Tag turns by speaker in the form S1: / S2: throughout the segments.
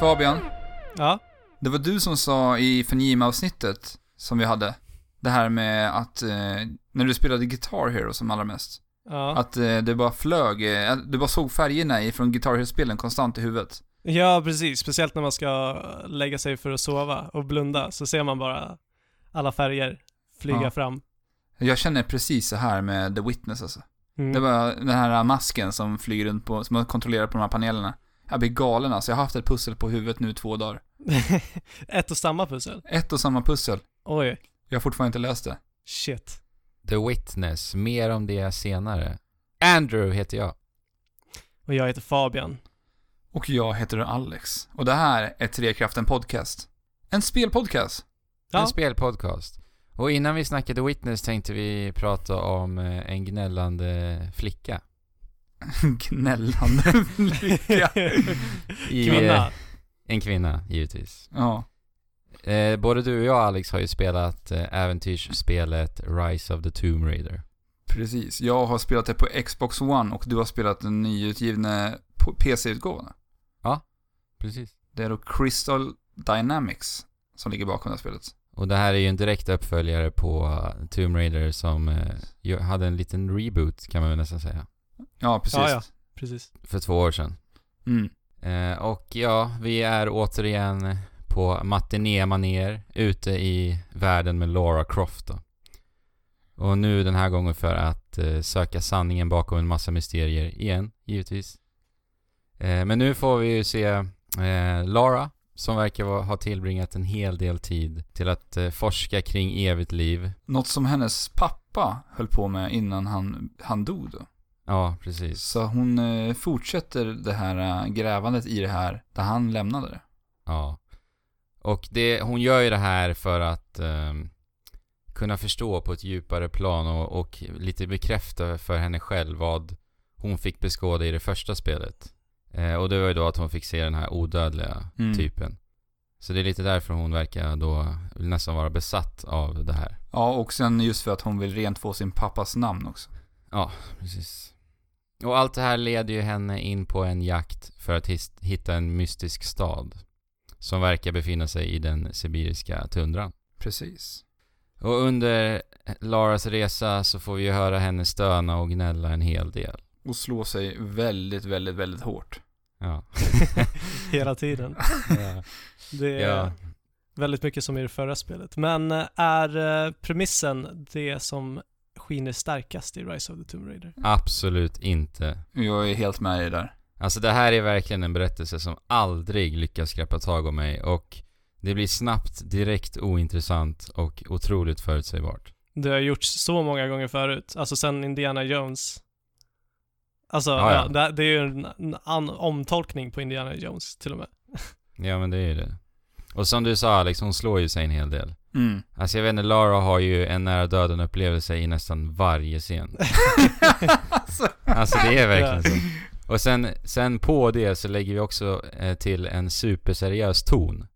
S1: Fabian,
S2: Ja.
S1: det var du som sa i Fenjima-avsnittet som vi hade, det här med att eh, när du spelade Guitar Hero som allra mest,
S2: Ja.
S1: att eh, det bara flög, eh, du bara såg färgerna ifrån Guitar Hero-spelen konstant i huvudet.
S2: ja, precis. Speciellt när man ska lägga sig för att sova och blunda så ser man bara alla färger flyga
S1: Ja.
S2: fram.
S1: Jag känner precis så här med The Witness alltså.
S2: Mm.
S1: Det var den här masken som flyger runt på, som man kontrollerar på de här panelerna. Jag blir galen alltså, jag har haft ett pussel på huvudet nu i två dagar.
S2: Ett och samma pussel.
S1: Ett och samma pussel.
S2: Oj,
S1: Jag har fortfarande inte löst det.
S2: shit.
S3: The Witness, mer om det senare. Andrew heter jag.
S2: Och jag heter Fabian.
S1: Och jag heter Alex. Och det här är Trekraften Podcast. En spelpodcast.
S2: Ja.
S3: En spelpodcast. Och innan vi snackade Witness tänkte vi prata om eh, en gnällande flicka.
S1: Gnällande lycka.
S3: I, eh,
S2: Kvinna.
S3: En kvinna, givetvis.
S1: Ja.
S3: Eh, både du och jag Alex har ju spelat eh, äventyrsspelet Rise of the Tomb Raider.
S1: Precis. Jag har spelat det på Xbox One och du har spelat den nyutgivna på- PC-utgåvan.
S3: Precis.
S1: Det är då Crystal Dynamics som ligger bakom det här spelet.
S3: Och det här är ju en direkt uppföljare på eh, Tomb Raider som eh, ju- hade en liten reboot kan man väl nästan säga.
S1: Ja, precis.
S2: Ja, ja. Precis.
S3: För två år sedan.
S1: Mm.
S3: Eh, och ja, vi är återigen på matinémanér ute i världen med Laura Croft då. Och nu den här gången för att eh, söka sanningen bakom en massa mysterier igen, givetvis. Eh, men nu får vi ju se eh, Laura som verkar va- ha tillbringat en hel del tid till att eh, forska kring evigt liv.
S1: Något som hennes pappa höll på med innan han, han dog då.
S3: Ja, precis.
S1: Så hon eh, fortsätter det här eh, grävandet i det här, där han lämnade det.
S3: Ja. Och det, hon gör ju det här för att ehm, kunna förstå på ett djupare plan och, och lite bekräfta för henne själv vad hon fick beskåda i det första spelet. Eh, och det var ju då att hon fick se den här odödliga
S1: Mm.
S3: typen. Så det är lite därför hon verkar då nästan vara besatt av det här.
S1: Ja, och sen just för att hon vill rent få sin pappas namn också.
S3: Precis. Och allt det här leder ju henne in på en jakt för att his- hitta en mystisk stad. Som verkar befinna sig i den sibiriska tundran.
S1: Precis.
S3: Och under Laras resa så får vi ju höra henne stöna och gnälla en hel del.
S1: Och slå sig väldigt, väldigt, väldigt hårt.
S3: Ja.
S2: Hela tiden.
S3: ja.
S2: Det är
S3: ja.
S2: väldigt mycket som i det förra spelet. Men eh, är eh, premissen det som skiner starkast i Rise of the Tomb Raider?
S3: Absolut inte.
S1: Jag är helt med dig där.
S3: Alltså det här är verkligen en berättelse som aldrig lyckas greppa tag om mig och det blir snabbt, direkt ointressant och otroligt förutsägbart.
S2: Det har gjorts så många gånger förut, alltså sen Indiana Jones. Alltså,
S3: Ja,
S2: ja,
S3: ja.
S2: Det, det är ju en, en an, omtolkning på Indiana Jones till och med.
S3: Ja men det är ju det. Och som du sa Alex, hon slår ju sig en hel del.
S1: Mm.
S3: Alltså jag vet inte, Lara har ju en nära döden upplevelse i nästan varje scen. Alltså det är verkligen så. Och sen, sen på det så lägger vi också eh, till en superseriös ton.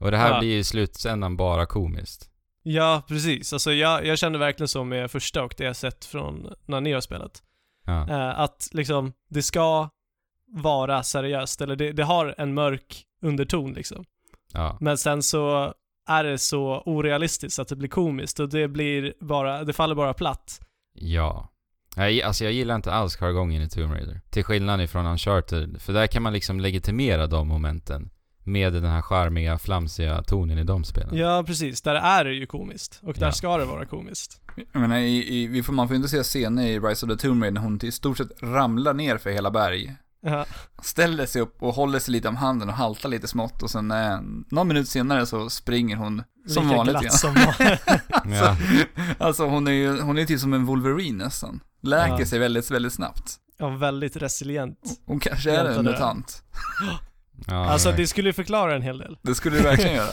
S3: Och det här
S2: Ja.
S3: blir ju i slutändan bara komiskt.
S2: Ja, precis. Alltså jag, jag kände verkligen så med första och det jag sett från när ni har spelat.
S3: Ja.
S2: Eh, att liksom, det ska vara seriöst, eller det, det har en mörk underton liksom.
S3: ja.
S2: Men sen så är det så orealistiskt att det blir komiskt och det blir bara, det faller bara platt.
S3: Ja. Jag, gi- alltså jag gillar inte alls jargongen i Tomb Raider. Till skillnad ifrån Uncharted, för där kan man liksom legitimera de momenten. Med den här charmiga, flamsiga tonen i de spelen.
S2: Ja, precis. Där är det ju komiskt och där
S3: Ja.
S2: ska det vara komiskt.
S1: Jag menar, i, i, vi får, man får inte se scener i Rise of the Tomb Raider när hon i stort sett ramlar ner för hela berg.
S2: Ja,
S1: Ställer sig upp och håller sig lite om handen och haltar lite smått och sen eh, någon minut senare så springer hon som
S2: lika
S1: vanligt
S2: glatt
S1: igen.
S2: som vanligt.
S3: Ja.
S1: Alltså hon är ju, hon är typ som en Wolverine nästan. Läker
S3: Ja.
S1: sig väldigt, väldigt snabbt.
S2: ja, väldigt resilient.
S1: Hon kanske är
S2: Jämtar
S1: en
S2: det.
S1: mutant.
S3: ja,
S2: Alltså
S3: verkligen.
S2: det skulle ju förklara en hel del.
S1: Det skulle du verkligen göra.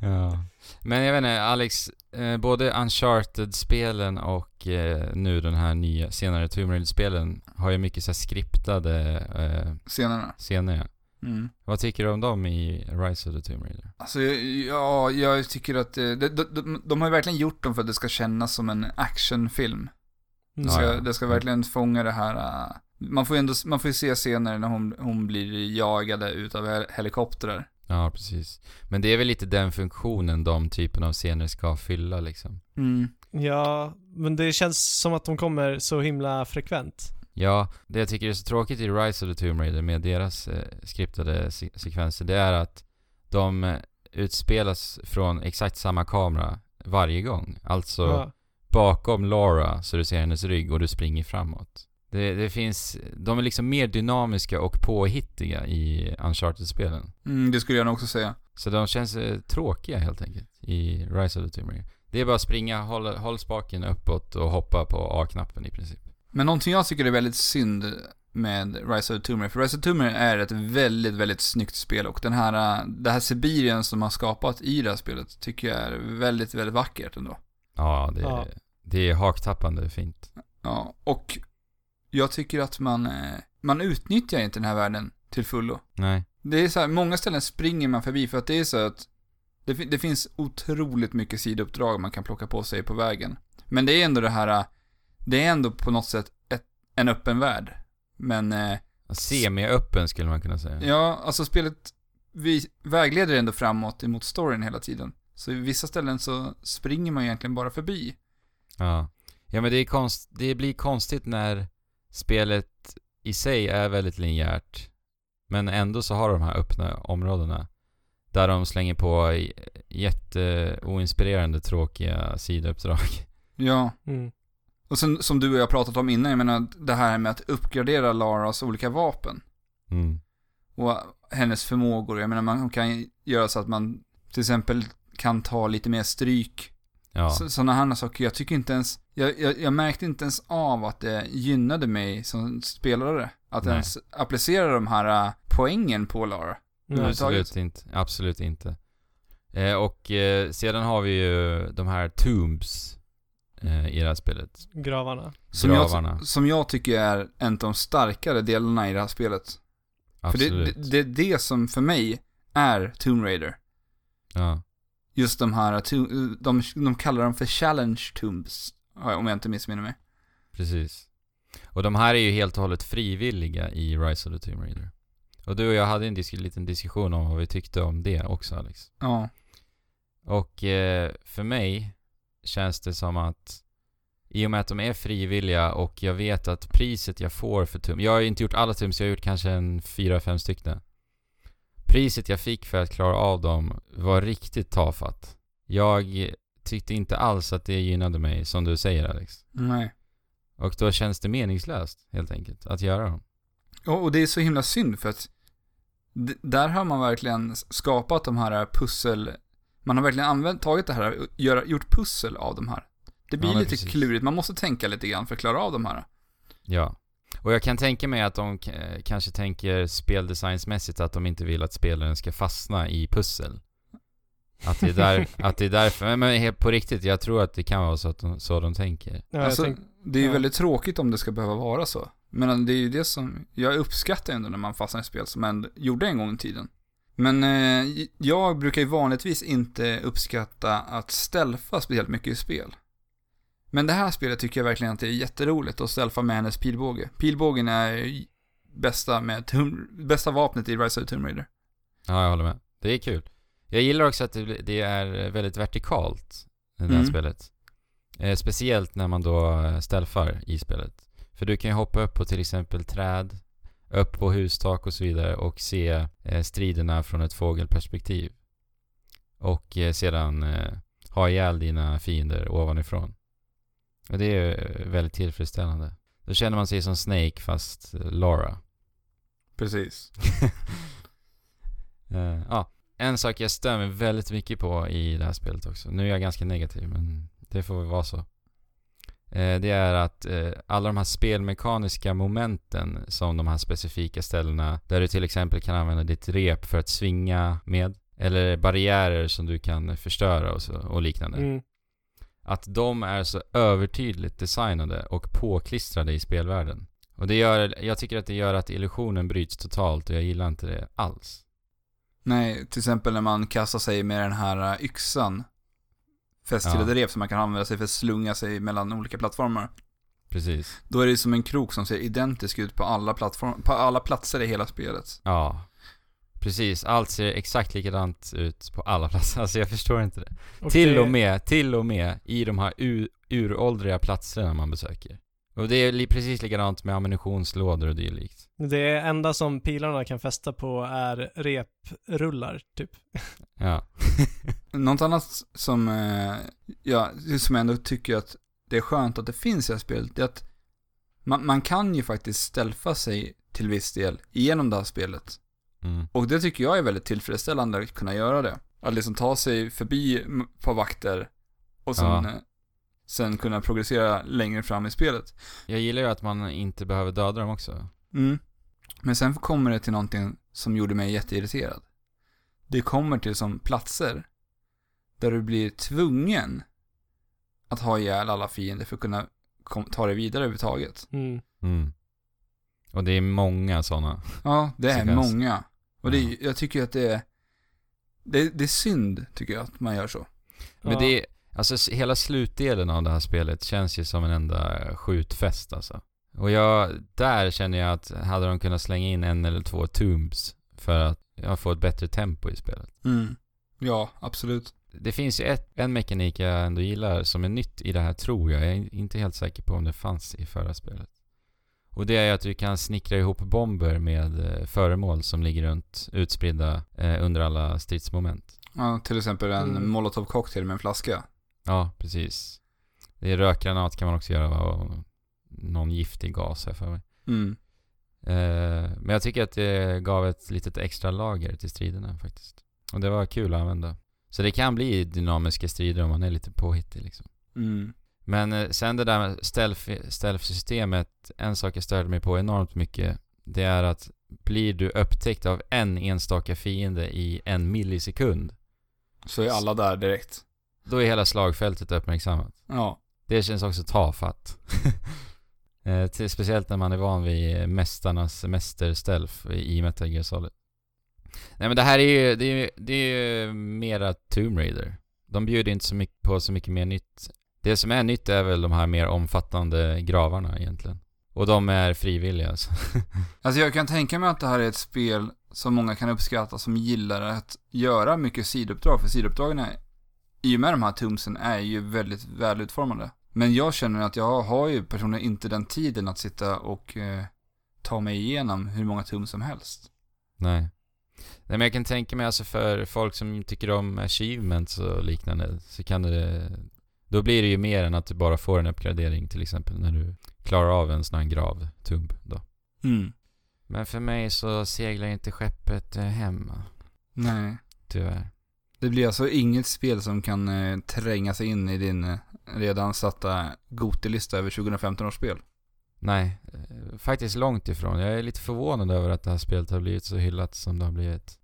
S3: ja. Men jag vet inte, Alex, eh, både Uncharted-spelen och eh, nu den här nya, senare Tomb Raider-spelen har ju mycket så här skriptade eh,
S1: Scenerna.
S3: scener.
S1: Mm.
S3: Vad tycker du om dem i Rise of the Tomb Raider?
S1: Alltså, ja, jag tycker att eh, de, de, de, de har ju verkligen gjort dem för att det ska kännas som en actionfilm.
S2: Mm.
S1: Så
S3: Ja, Mm. ja.
S1: det ska verkligen fånga det här, eh, Man får ju ändå, man får ju se scener när hon, hon blir jagade utav hel- helikoptrar.
S3: Ja, precis. Men det är väl lite den funktionen de typen av scener ska fylla liksom.
S1: Mm.
S2: Ja, men det känns som att de kommer så himla frekvent.
S3: Ja, det jag tycker är så tråkigt i Rise of the Tomb Raider med deras eh, skriptade se- sekvenser, det är att de eh, utspelas från exakt samma kamera varje gång. Alltså
S2: Ja.
S3: bakom Laura så du ser hennes rygg och du springer framåt. Det, det finns, de är liksom mer dynamiska och påhittiga i Uncharted-spelen.
S1: Mm, det skulle jag nog också säga.
S3: Så de känns eh, tråkiga helt enkelt i Rise of the Tomb Raider. Det är bara att springa, håll, håll spaken uppåt och hoppa på A-knappen i princip.
S1: Men någonting jag tycker är väldigt synd med Rise of the Tomb Raider, för Rise of the Tomb Raider är ett väldigt, väldigt snyggt spel och den här, äh, det här Sibirien som har skapat i det här spelet tycker jag är väldigt, väldigt vackert ändå.
S3: Ja, det,
S2: Ja.
S3: det är haktappande fint.
S1: Ja, och jag tycker att man, eh, man utnyttjar inte den här världen till fullo.
S3: Nej.
S1: Det är så här, många ställen springer man förbi för att det är så att det, fin- det finns otroligt mycket sidouppdrag man kan plocka på sig på vägen. Men det är ändå det här, äh, det är ändå på något sätt ett, en öppen värld. Men eh,
S3: Semi-öppen skulle man kunna säga.
S1: Ja, alltså spelet vi vägleder ändå framåt emot storyn hela tiden. Så i vissa ställen så springer man egentligen bara förbi.
S3: Ja, ja men det, är konst, det blir konstigt när spelet i sig är väldigt linjärt. Men ändå så har de här öppna områdena. Där de slänger på j- jätteoinspirerande tråkiga sidouppdrag.
S1: Ja,
S2: Mm.
S1: och sen som du och jag pratat om innan, jag menar det här med att uppgradera Laras olika vapen
S3: Mm.
S1: och hennes förmågor. Jag menar man kan göra så att man till exempel kan ta lite mer stryk.
S3: Ja.
S1: Så, sådana här saker. Jag tycker inte ens, jag, jag, jag märkte inte ens av att det gynnade mig som spelare. Att
S3: Nej.
S1: ens applicera de här äh, poängen på Lara.
S2: Nej.
S1: Mm.
S3: Absolut inte. Absolut inte. Eh, och eh, sedan har vi ju de här tombs eh, i det här spelet.
S1: Mm.
S2: Gravarna.
S1: Som
S3: Gravarna.
S1: jag, som jag tycker är en av de starkare delarna i det här spelet.
S3: Absolut.
S1: För det, det, det är det som för mig är Tomb Raider.
S3: ja.
S1: Just de här, to- de, de kallar dem för Challenge Tombs, om jag inte missminner mig.
S3: Precis. Och de här är ju helt och hållet frivilliga i Rise of the Tomb Raider. Och du och jag hade en disk- liten diskussion om vad vi tyckte om det också Alex.
S1: Ja.
S3: Och eh, för mig känns det som att i och med att de är frivilliga och jag vet att priset jag får för tum... Jag har ju inte gjort alla tums, jag har gjort kanske en fyra, fem stycken. Priset jag fick för att klara av dem var riktigt tafatt. Jag tyckte inte alls att det gynnade mig, som du säger Alex.
S1: Nej.
S3: Och då känns det meningslöst helt enkelt att göra dem.
S1: Och, och det är så himla synd för att d- där har man verkligen skapat de här pussel, man har verkligen använt, tagit det här, och göra- gjort pussel av de här. Det blir
S3: Ja, men
S1: lite
S3: precis.
S1: klurigt, man måste tänka lite grann för att klara av de här.
S3: Ja. Och jag kan tänka mig att de eh, kanske tänker speldesignsmässigt att de inte vill att spelaren ska fastna i pussel. Att det är, där, att det är därför. Men, men helt på riktigt, jag tror att det kan vara så, att de, så de tänker.
S2: Ja, jag
S1: alltså,
S2: tänk-
S1: det är ju
S2: ja.
S1: väldigt tråkigt om det ska behöva vara så. Men eh, det är ju det som, jag uppskattar ändå när man fastnar i spel som man gjorde en gång i tiden. Men eh, jag brukar ju vanligtvis inte uppskatta att stealtha speciellt mycket i spel. Men det här spelet tycker jag verkligen att det är jätteroligt att stealtha med hennes pilbåge. Pilbågen är ju bästa, med tum, bästa vapnet i Rise of the Tomb Raider.
S3: Ja, jag håller med. Det är kul. Jag gillar också att det, blir- det är väldigt vertikalt, det här
S1: Mm.
S3: spelet. Eh, speciellt när man då eh, stealthar i spelet. För du kan ju hoppa upp på till exempel träd, upp på hustak och så vidare och se eh, striderna från ett fågelperspektiv. Och eh, sedan eh, ha ihjäl dina fiender ovanifrån. Och det är ju eh, väldigt tillfredsställande. Då känner man sig som Snake fast eh, Lara.
S1: Precis.
S3: Eh, Ja, en sak jag stör mig väldigt mycket på i det här spelet också. Nu är jag ganska negativ, men det får väl vara så. Eh, Det är att eh, alla de här spelmekaniska momenten som de här specifika ställena där du till exempel kan använda ditt rep för att svinga med eller barriärer som du kan förstöra och, så, och liknande.
S2: Mm.
S3: Att de är så övertydligt designade och påklistrade i spelvärlden. Och det gör, jag tycker att det gör att illusionen bryts totalt och jag gillar inte det alls.
S1: Nej, till exempel när man kastar sig med den här äh, yxan. Fäst till
S3: Ja.
S1: ett rep som man kan använda sig för att slunga sig mellan olika plattformar.
S3: precis.
S1: Då är det som en krok som ser identisk ut på alla, plattform, på alla platser i hela spelet.
S3: Ja. Precis, allt ser exakt likadant ut på alla platser. Alltså jag förstår inte det. till
S2: det-
S3: och med, till och med i de här u- uråldriga platserna man besöker. Och det är li- precis likadant med ammunitionslådor och dylikt.
S2: Det enda som pilarna kan fästa på är reprullar, typ.
S3: Ja.
S1: Något annat som, eh, ja, som jag ändå tycker att det är skönt att det finns i det här spelet, det är att man, man kan ju faktiskt stelfa sig till viss del igenom det här spelet.
S3: Mm.
S1: Och det tycker jag är väldigt tillfredsställande att kunna göra det. Att liksom ta sig förbi m- ett par vakter och sen,
S3: Ja.
S1: eh, sen kunna progressera längre fram i spelet.
S3: Jag gillar ju att man inte behöver döda dem också.
S1: Mm. Men sen kommer det till någonting som gjorde mig jätteirriterad. Det kommer till som platser där du blir tvungen att ha ihjäl alla fiender för att kunna kom- ta dig vidare överhuvudtaget.
S2: Mm.
S3: Mm. Och det är många sådana.
S1: Ja, det är
S3: Sekvens.
S1: många. Och det, är- jag tycker att det är, det, det är synd tycker jag att man gör så.
S3: Men
S2: Ja.
S3: det är, alltså s- hela slutdelen av det här spelet känns ju som en enda skjutfest alltså. Och jag, där känner jag att hade de kunnat slänga in en eller två tombs för att ja, få ett bättre tempo i spelet.
S1: Mm. Ja, absolut.
S3: Det finns ju ett, en mekanik jag ändå gillar som är nytt i det här tror jag. Jag är in- inte helt säker på om det fanns i förra spelet. Och det är ju att du kan snickra ihop bomber med eh, föremål som ligger runt utspridda eh, under alla stridsmoment.
S1: Ja, till exempel en
S2: Mm.
S1: molotov cocktail med en flaska.
S3: Ja, precis. Det är rökgranat kan man också göra va? Och någon giftig gas här för mig.
S1: Mm.
S3: Eh, men jag tycker att det gav ett litet extra lager till striderna faktiskt. Och det var kul att använda. Så det kan bli dynamiska strider om man är lite påhittig liksom.
S1: Mm.
S3: Men eh, sen det där med stealth- stealth-systemet, en sak jag störde mig på enormt mycket, det är att blir du upptäckt av en enstaka fiende i en millisekund,
S1: Så är alla där direkt.
S3: då är hela slagfältet uppmärksammat.
S1: Ja.
S3: Det känns också tafatt. Eh, till- Speciellt när man är van vid mästarnas mästerstelf i Metal Gear Solid. Nej men det här är ju, det är, ju- det är ju mera Tomb Raider. De bjuder inte så mycket på så mycket mer nytt. Det som är nytt är väl de här mer omfattande gravarna egentligen. Och de är frivilliga alltså.
S1: Alltså jag kan tänka mig att det här är ett spel som många kan uppskatta som gillar att göra mycket sidouppdrag. För sidouppdragen är, i och med de här tumsen är ju väldigt välutformade. Men jag känner att jag har ju personligen inte den tiden att sitta och eh, ta mig igenom hur många tum som helst.
S3: Nej. Nej men jag kan tänka mig alltså för folk som tycker om achievements och liknande så kan det... Då blir det ju mer än att du bara får en uppgradering till exempel när du klarar av en sån här gravtumb då.
S1: Mm.
S3: Men för mig så seglar inte skeppet eh, hem
S1: Nej.
S3: tyvärr.
S1: Det blir alltså inget spel som kan eh, tränga sig in i din eh, redan satta Gotilista över 2015 års spel.
S3: Nej, eh, faktiskt långt ifrån. Jag är lite förvånad över att det här spelet har blivit så hyllat som det har blivit.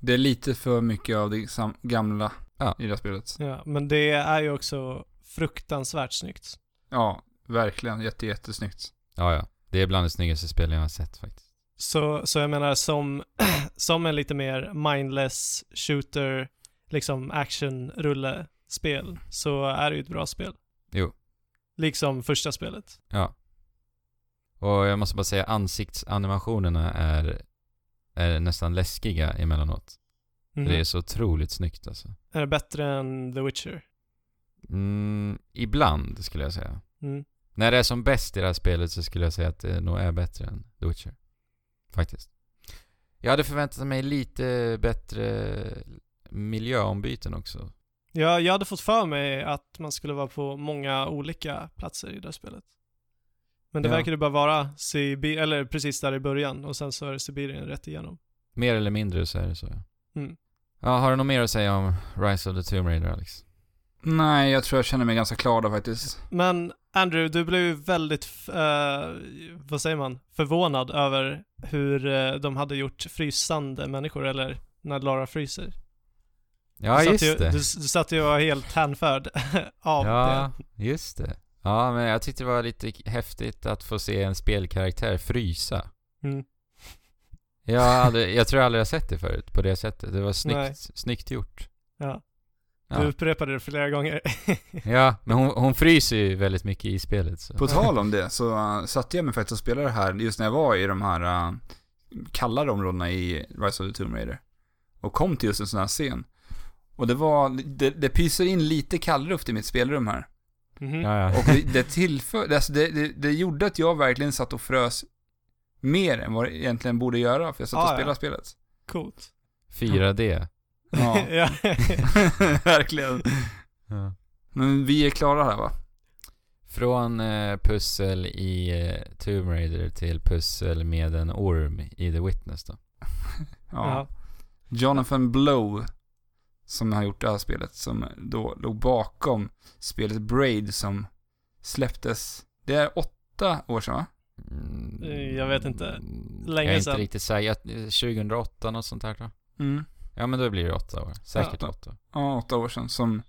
S1: Det är lite för mycket av det sam- gamla
S3: Ja.
S1: i det här spelet.
S2: Ja, men det är ju också fruktansvärt snyggt.
S1: Ja, verkligen. Jätte, jättesnyggt.
S3: Ja, ja. Det är bland de snyggaste spelen jag har sett faktiskt.
S2: Så, så jag menar som, som en lite mer mindless shooter, liksom action rulle spel så är det ju ett bra spel.
S3: Jo.
S2: Liksom första spelet.
S3: Ja. Och jag måste bara säga ansiktsanimationerna är, är nästan läskiga emellanåt.
S2: Mhm.
S3: Det är så otroligt snyggt alltså.
S2: Är det bättre än The Witcher?
S3: Mm, ibland skulle jag säga.
S2: Mm.
S3: När det är som bäst i det här spelet så skulle jag säga att det nog är bättre än The Witcher. Faktiskt. Jag hade förväntat mig lite bättre miljöombyten också.
S2: Ja, jag hade fått för mig att man skulle vara på många olika platser i det här spelet. Men det
S3: Ja.
S2: verkar ju bara vara Sibir eller precis där i början och sen så är det Sibirien rätt igenom.
S3: Mer eller mindre så är det så.
S2: Mm.
S3: Ja, har du något mer att säga om Rise of the Tomb Raider, Alex?
S1: Nej, jag tror jag känner mig ganska klar där faktiskt.
S2: Men Andrew, du blev ju väldigt, f- eh, vad säger man, förvånad över hur eh, de hade gjort frysande människor, eller när Lara fryser.
S3: Ja,
S2: du, satt
S3: just
S2: ju,
S3: det.
S2: Du, s- du satt ju och var helt hänförd av
S3: ja, just det. Ja, men jag tyckte det var lite k- häftigt att få se en spelkaraktär frysa.
S2: det. Mm.
S3: Jag, hade, jag tror jag aldrig har sett det förut på det sättet. Det var
S2: Nej.
S3: snyggt, snyggt gjort.
S2: Ja.
S3: Ja.
S2: Du upprepade det flera gånger.
S3: Ja, men hon, hon fryser ju väldigt mycket i spelet. Så.
S1: På tal om det så eh, satte jag mig faktiskt och spelade det här just när jag var i de här eh, kallare områdena i Rise of the Tomb Raider. Och kom till just en sån här scen. Och det var, det, det pyser in lite kallluft i mitt spelrum här.
S2: Mhm.
S3: Ja, ja.
S1: Och det, det tillför, alltså det, det, det gjorde att jag verkligen satt och frös mer än vad jag egentligen borde göra, för jag satt
S2: Ah,
S1: och
S2: ja.
S1: spelade spelet.
S2: Coolt.
S3: 4D.
S1: Ja,
S2: ja.
S1: verkligen.
S3: Ja.
S1: Men vi är klara här va?
S3: Från eh, pussel i eh, Tomb Raider till pussel med en orm i The Witness då.
S1: ja.
S2: Ja.
S1: Jonathan Blow som har gjort det här spelet som då låg bakom spelet Braid som släpptes, det är åtta år sedan va?
S3: Mm,
S2: Eh, Jag vet inte. Länge
S3: Jag är inte
S2: sedan.
S3: riktigt säker. Jag- 2008 något sånt här då?
S1: Mm.
S3: Ja men då blir det åtta år. Säkert
S1: Ja.
S3: åtta.
S1: Ja, åtta år sedan som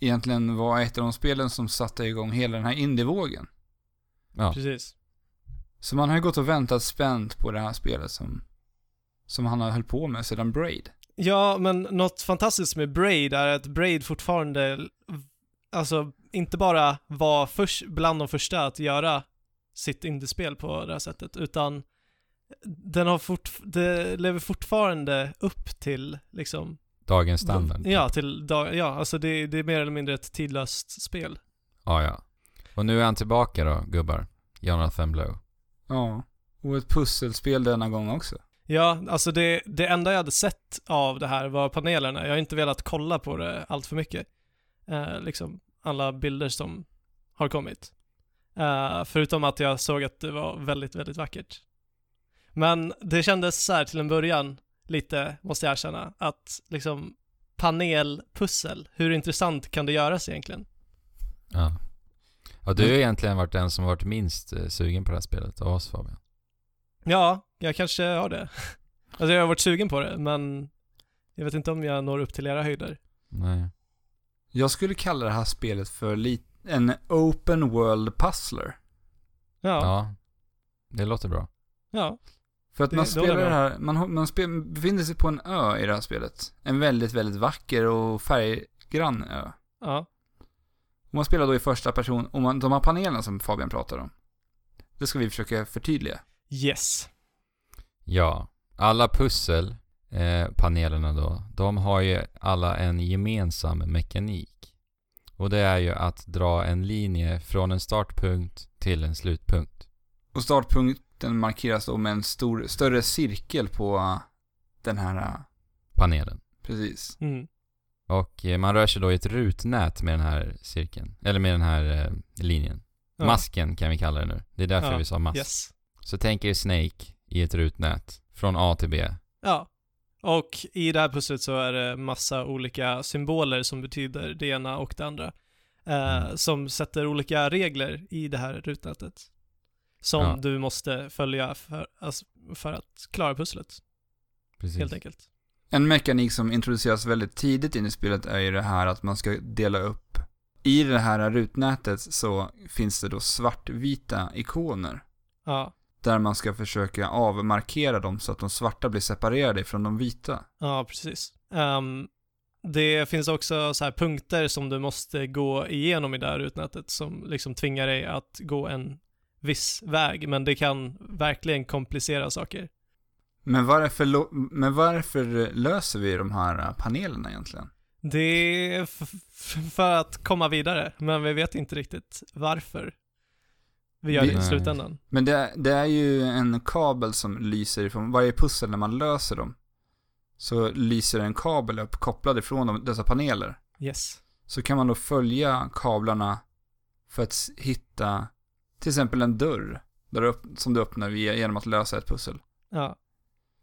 S1: egentligen var ett av de spelen som satte igång hela den här indievågen.
S3: Ja.
S2: Precis.
S1: Så man har ju gått och väntat spänt på det här spelet som, som han har höll på med sedan Braid.
S2: Ja, men något fantastiskt med Braid är att Braid fortfarande, alltså inte bara var först, bland de första att göra sitt indiespel på det här sättet, utan den har fort, det lever fortfarande upp till liksom,
S3: Dagens standard.
S2: ja, till, dag- ja, alltså det, det är mer eller mindre ett tidlöst spel.
S3: Ja, ja. Och nu är han tillbaka då, gubbar. Jonathan Blow.
S1: Ja. Och ett pusselspel denna gång också.
S2: Ja, alltså det, det enda jag hade sett av det här var panelerna. Jag har inte velat kolla på det allt för mycket. Eh, liksom alla bilder som har kommit. Eh, förutom att jag såg att det var väldigt, väldigt vackert. Men det kändes så här till en början, lite, måste jag erkänna, att liksom panelpussel, hur intressant kan det göras egentligen?
S3: Ja. Ja, du har egentligen varit den som varit minst eh, sugen på det här spelet av oss Fabian.
S2: Ja, jag kanske har det. Alltså jag har varit sugen på det, men jag vet inte om jag når upp till era höjder.
S3: Nej.
S1: Jag skulle kalla det här spelet för li- en open world puzzler.
S3: Ja.
S2: Ja,
S3: Det låter bra.
S2: ja.
S1: För att
S2: Det-
S1: man
S2: det
S1: spelar
S2: håller
S1: det
S2: jag med
S1: här, man, har- man spel, befinner sig på en ö i det här spelet. En väldigt, väldigt vacker och färggrann ö.
S2: ja.
S1: Och man spelar då i första person och man, de här panelerna som Fabian pratar om. Det ska vi försöka förtydliga.
S2: Yes.
S3: Ja. Alla pussel, eh, panelerna då, de har ju alla en gemensam mekanik. Och det är ju att dra en linje från en startpunkt till en slutpunkt.
S1: Och startpunkten markeras då med en stor, större cirkel på äh, den här, äh,
S3: Panelen.
S1: precis.
S2: Mm.
S3: Och eh, man rör sig då i ett rutnät med den här cirkeln, eller med den här eh, linjen.
S2: Ja.
S3: Masken kan vi kalla det nu. Det är därför
S2: Ja.
S3: vi sa mask.
S2: Yes.
S3: Så tänk er Snake i ett rutnät, från A till B.
S2: Ja. Och i det här pusslet så är det massa olika symboler som betyder det ena och det andra. Eh,
S3: Mm.
S2: Som sätter olika regler i det här rutnätet. Som
S3: Ja.
S2: du måste följa för, alltså, för att klara pusslet,
S3: Precis.
S2: helt enkelt.
S1: En mekanik som introduceras väldigt tidigt in i spelet är ju det här att man ska dela upp. I det här rutnätet så finns det då svartvita ikoner.
S2: Ja.
S1: Där man ska försöka avmarkera dem så att de svarta blir separerade från de vita.
S2: Ja, precis. Ehm, det finns också så här punkter som du måste gå igenom i det här rutnätet som liksom tvingar dig att gå en viss väg, men det kan verkligen komplicera saker.
S1: Men varför, lo- men varför löser vi de här äh, panelerna egentligen?
S2: Det är f- f- för att komma vidare, men vi vet inte riktigt varför vi gör det i
S1: Nej.
S2: slutändan.
S1: Men det, det är ju en kabel som lyser ifrån varje pussel när man löser dem. Så lyser en kabel upp kopplad ifrån de, dessa paneler.
S2: Yes.
S1: Så kan man då följa kablarna för att s- hitta till exempel en dörr där du öpp- som du öppnar via, genom att lösa ett pussel.
S2: Ja,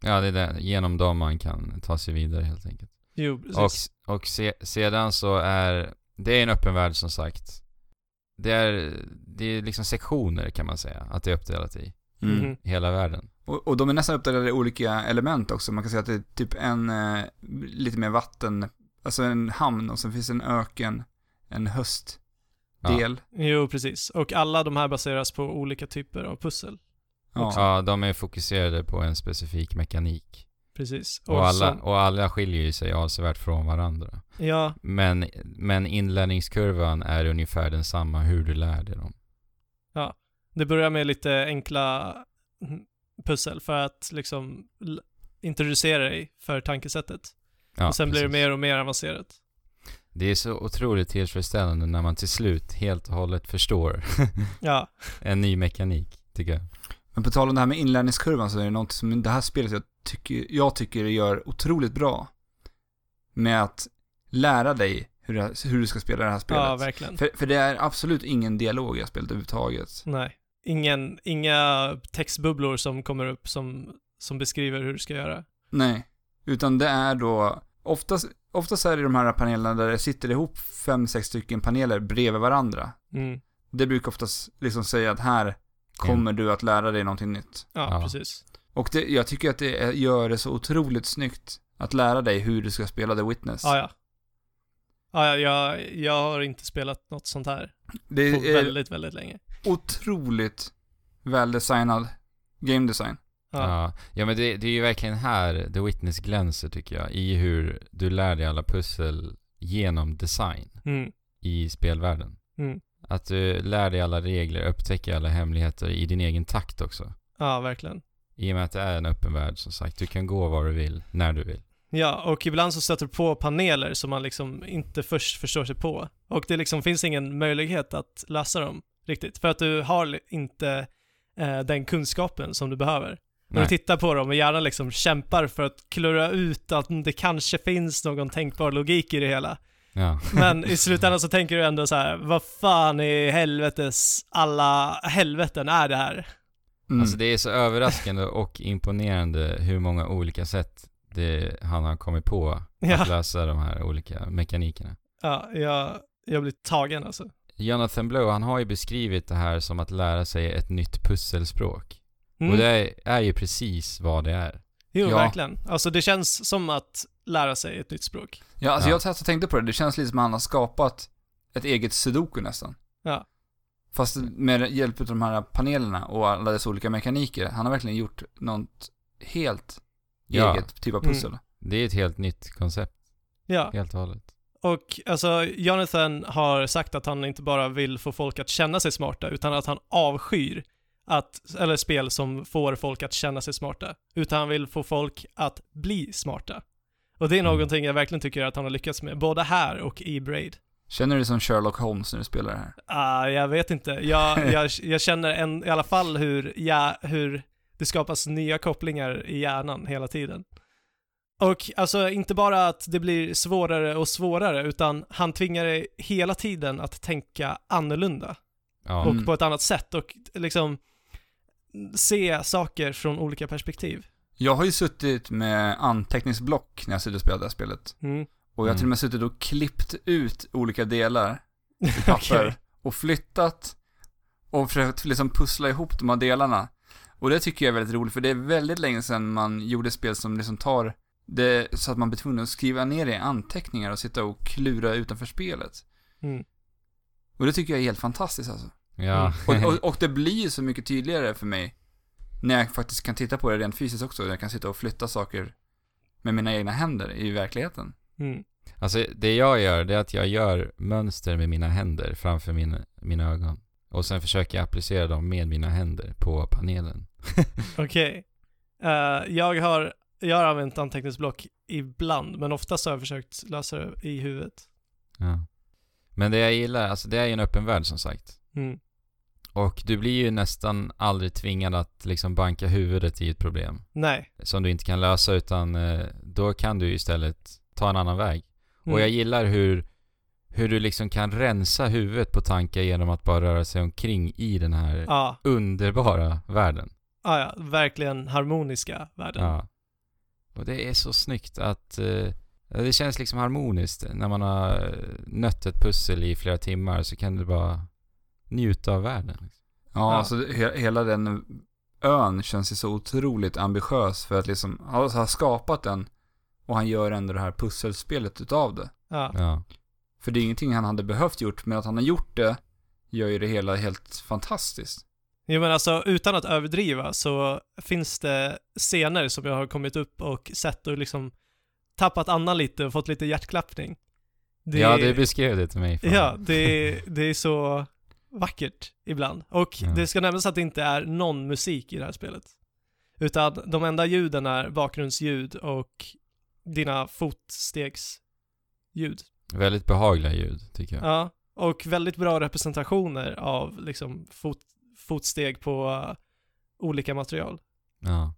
S3: Ja, det är där, genom dem man kan ta sig vidare helt enkelt.
S2: jo, precis.
S3: Och, och se, sedan så är, det är en öppen värld som sagt. Det är, det är liksom sektioner kan man säga, att det är uppdelat i.
S2: Mhm.
S3: Hela världen.
S1: Och, och de är nästan uppdelade i olika element också. Man kan säga att det är typ en, eh, lite mer vatten, alltså en hamn och sen finns det en öken, en höstdel.
S3: Ja.
S2: Jo, precis. Och alla de här baseras på olika typer av pussel.
S1: Ja.
S3: Ja, de är fokuserade på en specifik mekanik.
S2: precis.
S3: Och alla,
S2: som-
S3: och alla skiljer ju sig avsevärt från varandra.
S2: ja,
S3: Men, men inlärningskurvan är ungefär densamma hur du lär dig dem.
S2: det börjar med lite enkla mm, pussel för att liksom l- introducera dig för tankesättet.
S3: Ja,
S2: och sen blir det
S3: precis.
S2: mer och mer avancerat.
S3: Det är så otroligt tillfredsställande när man till slut helt och hållet förstår
S2: Ja,
S3: en ny mekanik, tycker jag.
S1: Men på tal om det här med inlärningskurvan så är det något som det här spelet jag tycker, jag tycker det gör otroligt bra. Med att lära dig hur, det- hur du ska spela det här spelet.
S2: ja verkligen.
S1: för, för det är absolut ingen dialog i det här spelet överhuvudtaget.
S2: Nej. Ingen, inga textbubblor som kommer upp som, som beskriver hur du ska göra.
S1: Nej. Utan det är då, oftast, oftast är det de här panelerna där det sitter ihop fem, sex stycken paneler bredvid varandra.
S2: Mm.
S1: Det brukar oftast liksom säga att här kommer du att lära dig någonting nytt.
S2: Ja,
S3: Ja.
S2: precis.
S1: Och det, jag tycker att det är- gör det så otroligt snyggt att lära dig hur du ska spela The Witness.
S2: Ja, ja. Ja, ja, jag, jag har inte spelat något sånt här
S1: det
S2: på
S1: är
S2: väldigt, väldigt länge.
S1: otroligt väldesignad game design.
S2: Ja,
S3: Ja, ja men det, det är ju verkligen här The Witness glänser tycker jag, i hur du lär dig alla pussel genom design
S2: mm,
S3: i spelvärlden.
S2: Mm.
S3: Att du lär dig alla regler, upptäcker alla hemligheter i din egen takt också.
S2: ja verkligen.
S3: I och med att det är en öppen värld som sagt, du kan gå var du vill, när du vill.
S2: Ja, och ibland så stöter du på paneler som man liksom inte först förstår sig på. Och det liksom finns ingen möjlighet att lösa dem riktigt, för att du har li- inte eh, den kunskapen som du behöver. När du
S3: Nej.
S2: tittar på dem och hjärnan liksom kämpar för att klura ut att det kanske finns någon tänkbar logik i det hela.
S3: Ja.
S2: Men i slutändan så tänker du ändå så här, vad fan i helvetes alla helveten är det här?
S1: Mm.
S3: Alltså det är så överraskande och imponerande hur många olika sätt det, han har kommit på
S2: Ja,
S3: att lösa de här olika mekanikerna.
S2: ja jag, jag blir tagen alltså.
S3: Jonathan Blow, han har ju beskrivit det här som att lära sig ett nytt pusselspråk.
S2: Mm.
S3: Och det är, är ju precis vad det är.
S2: Jo,
S1: Ja.
S2: verkligen. Alltså det känns som att lära sig ett nytt språk.
S1: ja, alltså
S3: Ja.
S1: jag satt och tänkte på det, det känns lite som att han har skapat ett eget sudoku nästan.
S2: Ja.
S1: Fast med hjälp av de här panelerna och alla dess olika mekaniker. Han har verkligen gjort något helt
S3: Ja. Mm.
S1: eget typ av pussel.
S3: Det är ett helt nytt koncept,
S2: Ja,
S3: helt och hållet.
S2: och alltså Jonathan har sagt att han inte bara vill få folk att känna sig smarta, utan att han avskyr att, eller spel som får folk att känna sig smarta, utan han vill få folk att bli smarta. Och det är
S3: Mm.
S2: någonting jag verkligen tycker att han har lyckats med, både här och i Braid.
S1: Känner du dig som Sherlock Holmes när du spelar det här?
S2: Ah, jag vet inte. Jag, jag, jag känner en, i alla fall hur, ja, hur det skapas nya kopplingar i hjärnan hela tiden. Och alltså inte bara att det blir svårare och svårare, utan han tvingar dig hela tiden att tänka annorlunda
S3: Ja.
S2: och
S1: Mm.
S2: på ett annat sätt och liksom se saker från olika perspektiv.
S1: Jag har ju suttit med anteckningsblock när jag suttit och spelat det här spelet.
S2: Mm.
S1: Och jag har
S3: Mm.
S1: till och med suttit och klippt ut olika delar i papper
S2: Okej.
S1: och flyttat och försökt liksom pussla ihop de här delarna. Och det tycker jag är väldigt roligt för det är väldigt länge sedan man gjorde spel som liksom tar det så att man blir tvungen att skriva ner det i anteckningar och sitta och klura utanför spelet.
S2: Mm.
S1: Och det tycker jag är helt fantastiskt alltså.
S3: ja.
S1: Och, och, och det blir ju så mycket tydligare för mig när jag faktiskt kan titta på det rent fysiskt också. Jag kan sitta och flytta saker med mina egna händer i verkligheten.
S2: Mm.
S3: Alltså det jag gör, det är att jag gör mönster med mina händer framför min, mina ögon. Och sen försöker jag applicera dem med mina händer på panelen.
S2: Okej. Eh, jag, har, jag har använt anteckningsblock ibland, men oftast har jag försökt lösa det i huvudet.
S3: Ja. Men det jag gillar, alltså det är ju en öppen värld som sagt.
S2: Mm.
S3: Och du blir ju nästan aldrig tvingad att liksom banka huvudet i ett problem.
S2: Nej.
S3: som du inte kan lösa utan eh, då kan du istället ta en annan väg. Och
S2: Mm.
S3: jag gillar hur, hur du liksom kan rensa huvudet på tankar genom att bara röra sig omkring i den här
S2: Ja,
S3: underbara världen.
S2: ja, ja, verkligen harmoniska världen.
S3: Ja. Och det är så snyggt att eh, det känns liksom harmoniskt. När man har eh, nött ett pussel i flera timmar så kan du bara njuta av världen. liksom.
S1: Ja,
S2: Ja.
S1: alltså he- hela den ön känns ju så otroligt ambitiös för att liksom, han har skapat den och han gör ändå det här pusselspelet utav det.
S2: Ja,
S3: Ja.
S1: För det är ingenting han hade behövt gjort, men att han har gjort det gör ju det hela helt fantastiskt.
S2: Jo men alltså utan att överdriva så finns det scener som jag har kommit upp och sett och liksom tappat andan lite och fått lite hjärtklappning. Det-
S3: Ja, du beskrev det till mig. fan.
S2: Ja, det, det är så vackert ibland. Och
S3: Ja.
S2: det ska nämnas att det inte är någon musik i det här spelet. Utan de enda ljuden är bakgrundsljud och dina fotstegsljud.
S3: Väldigt behagliga ljud, tycker jag.
S2: Ja, och väldigt bra representationer av liksom fot, fotsteg på eh, olika material.
S3: Ja.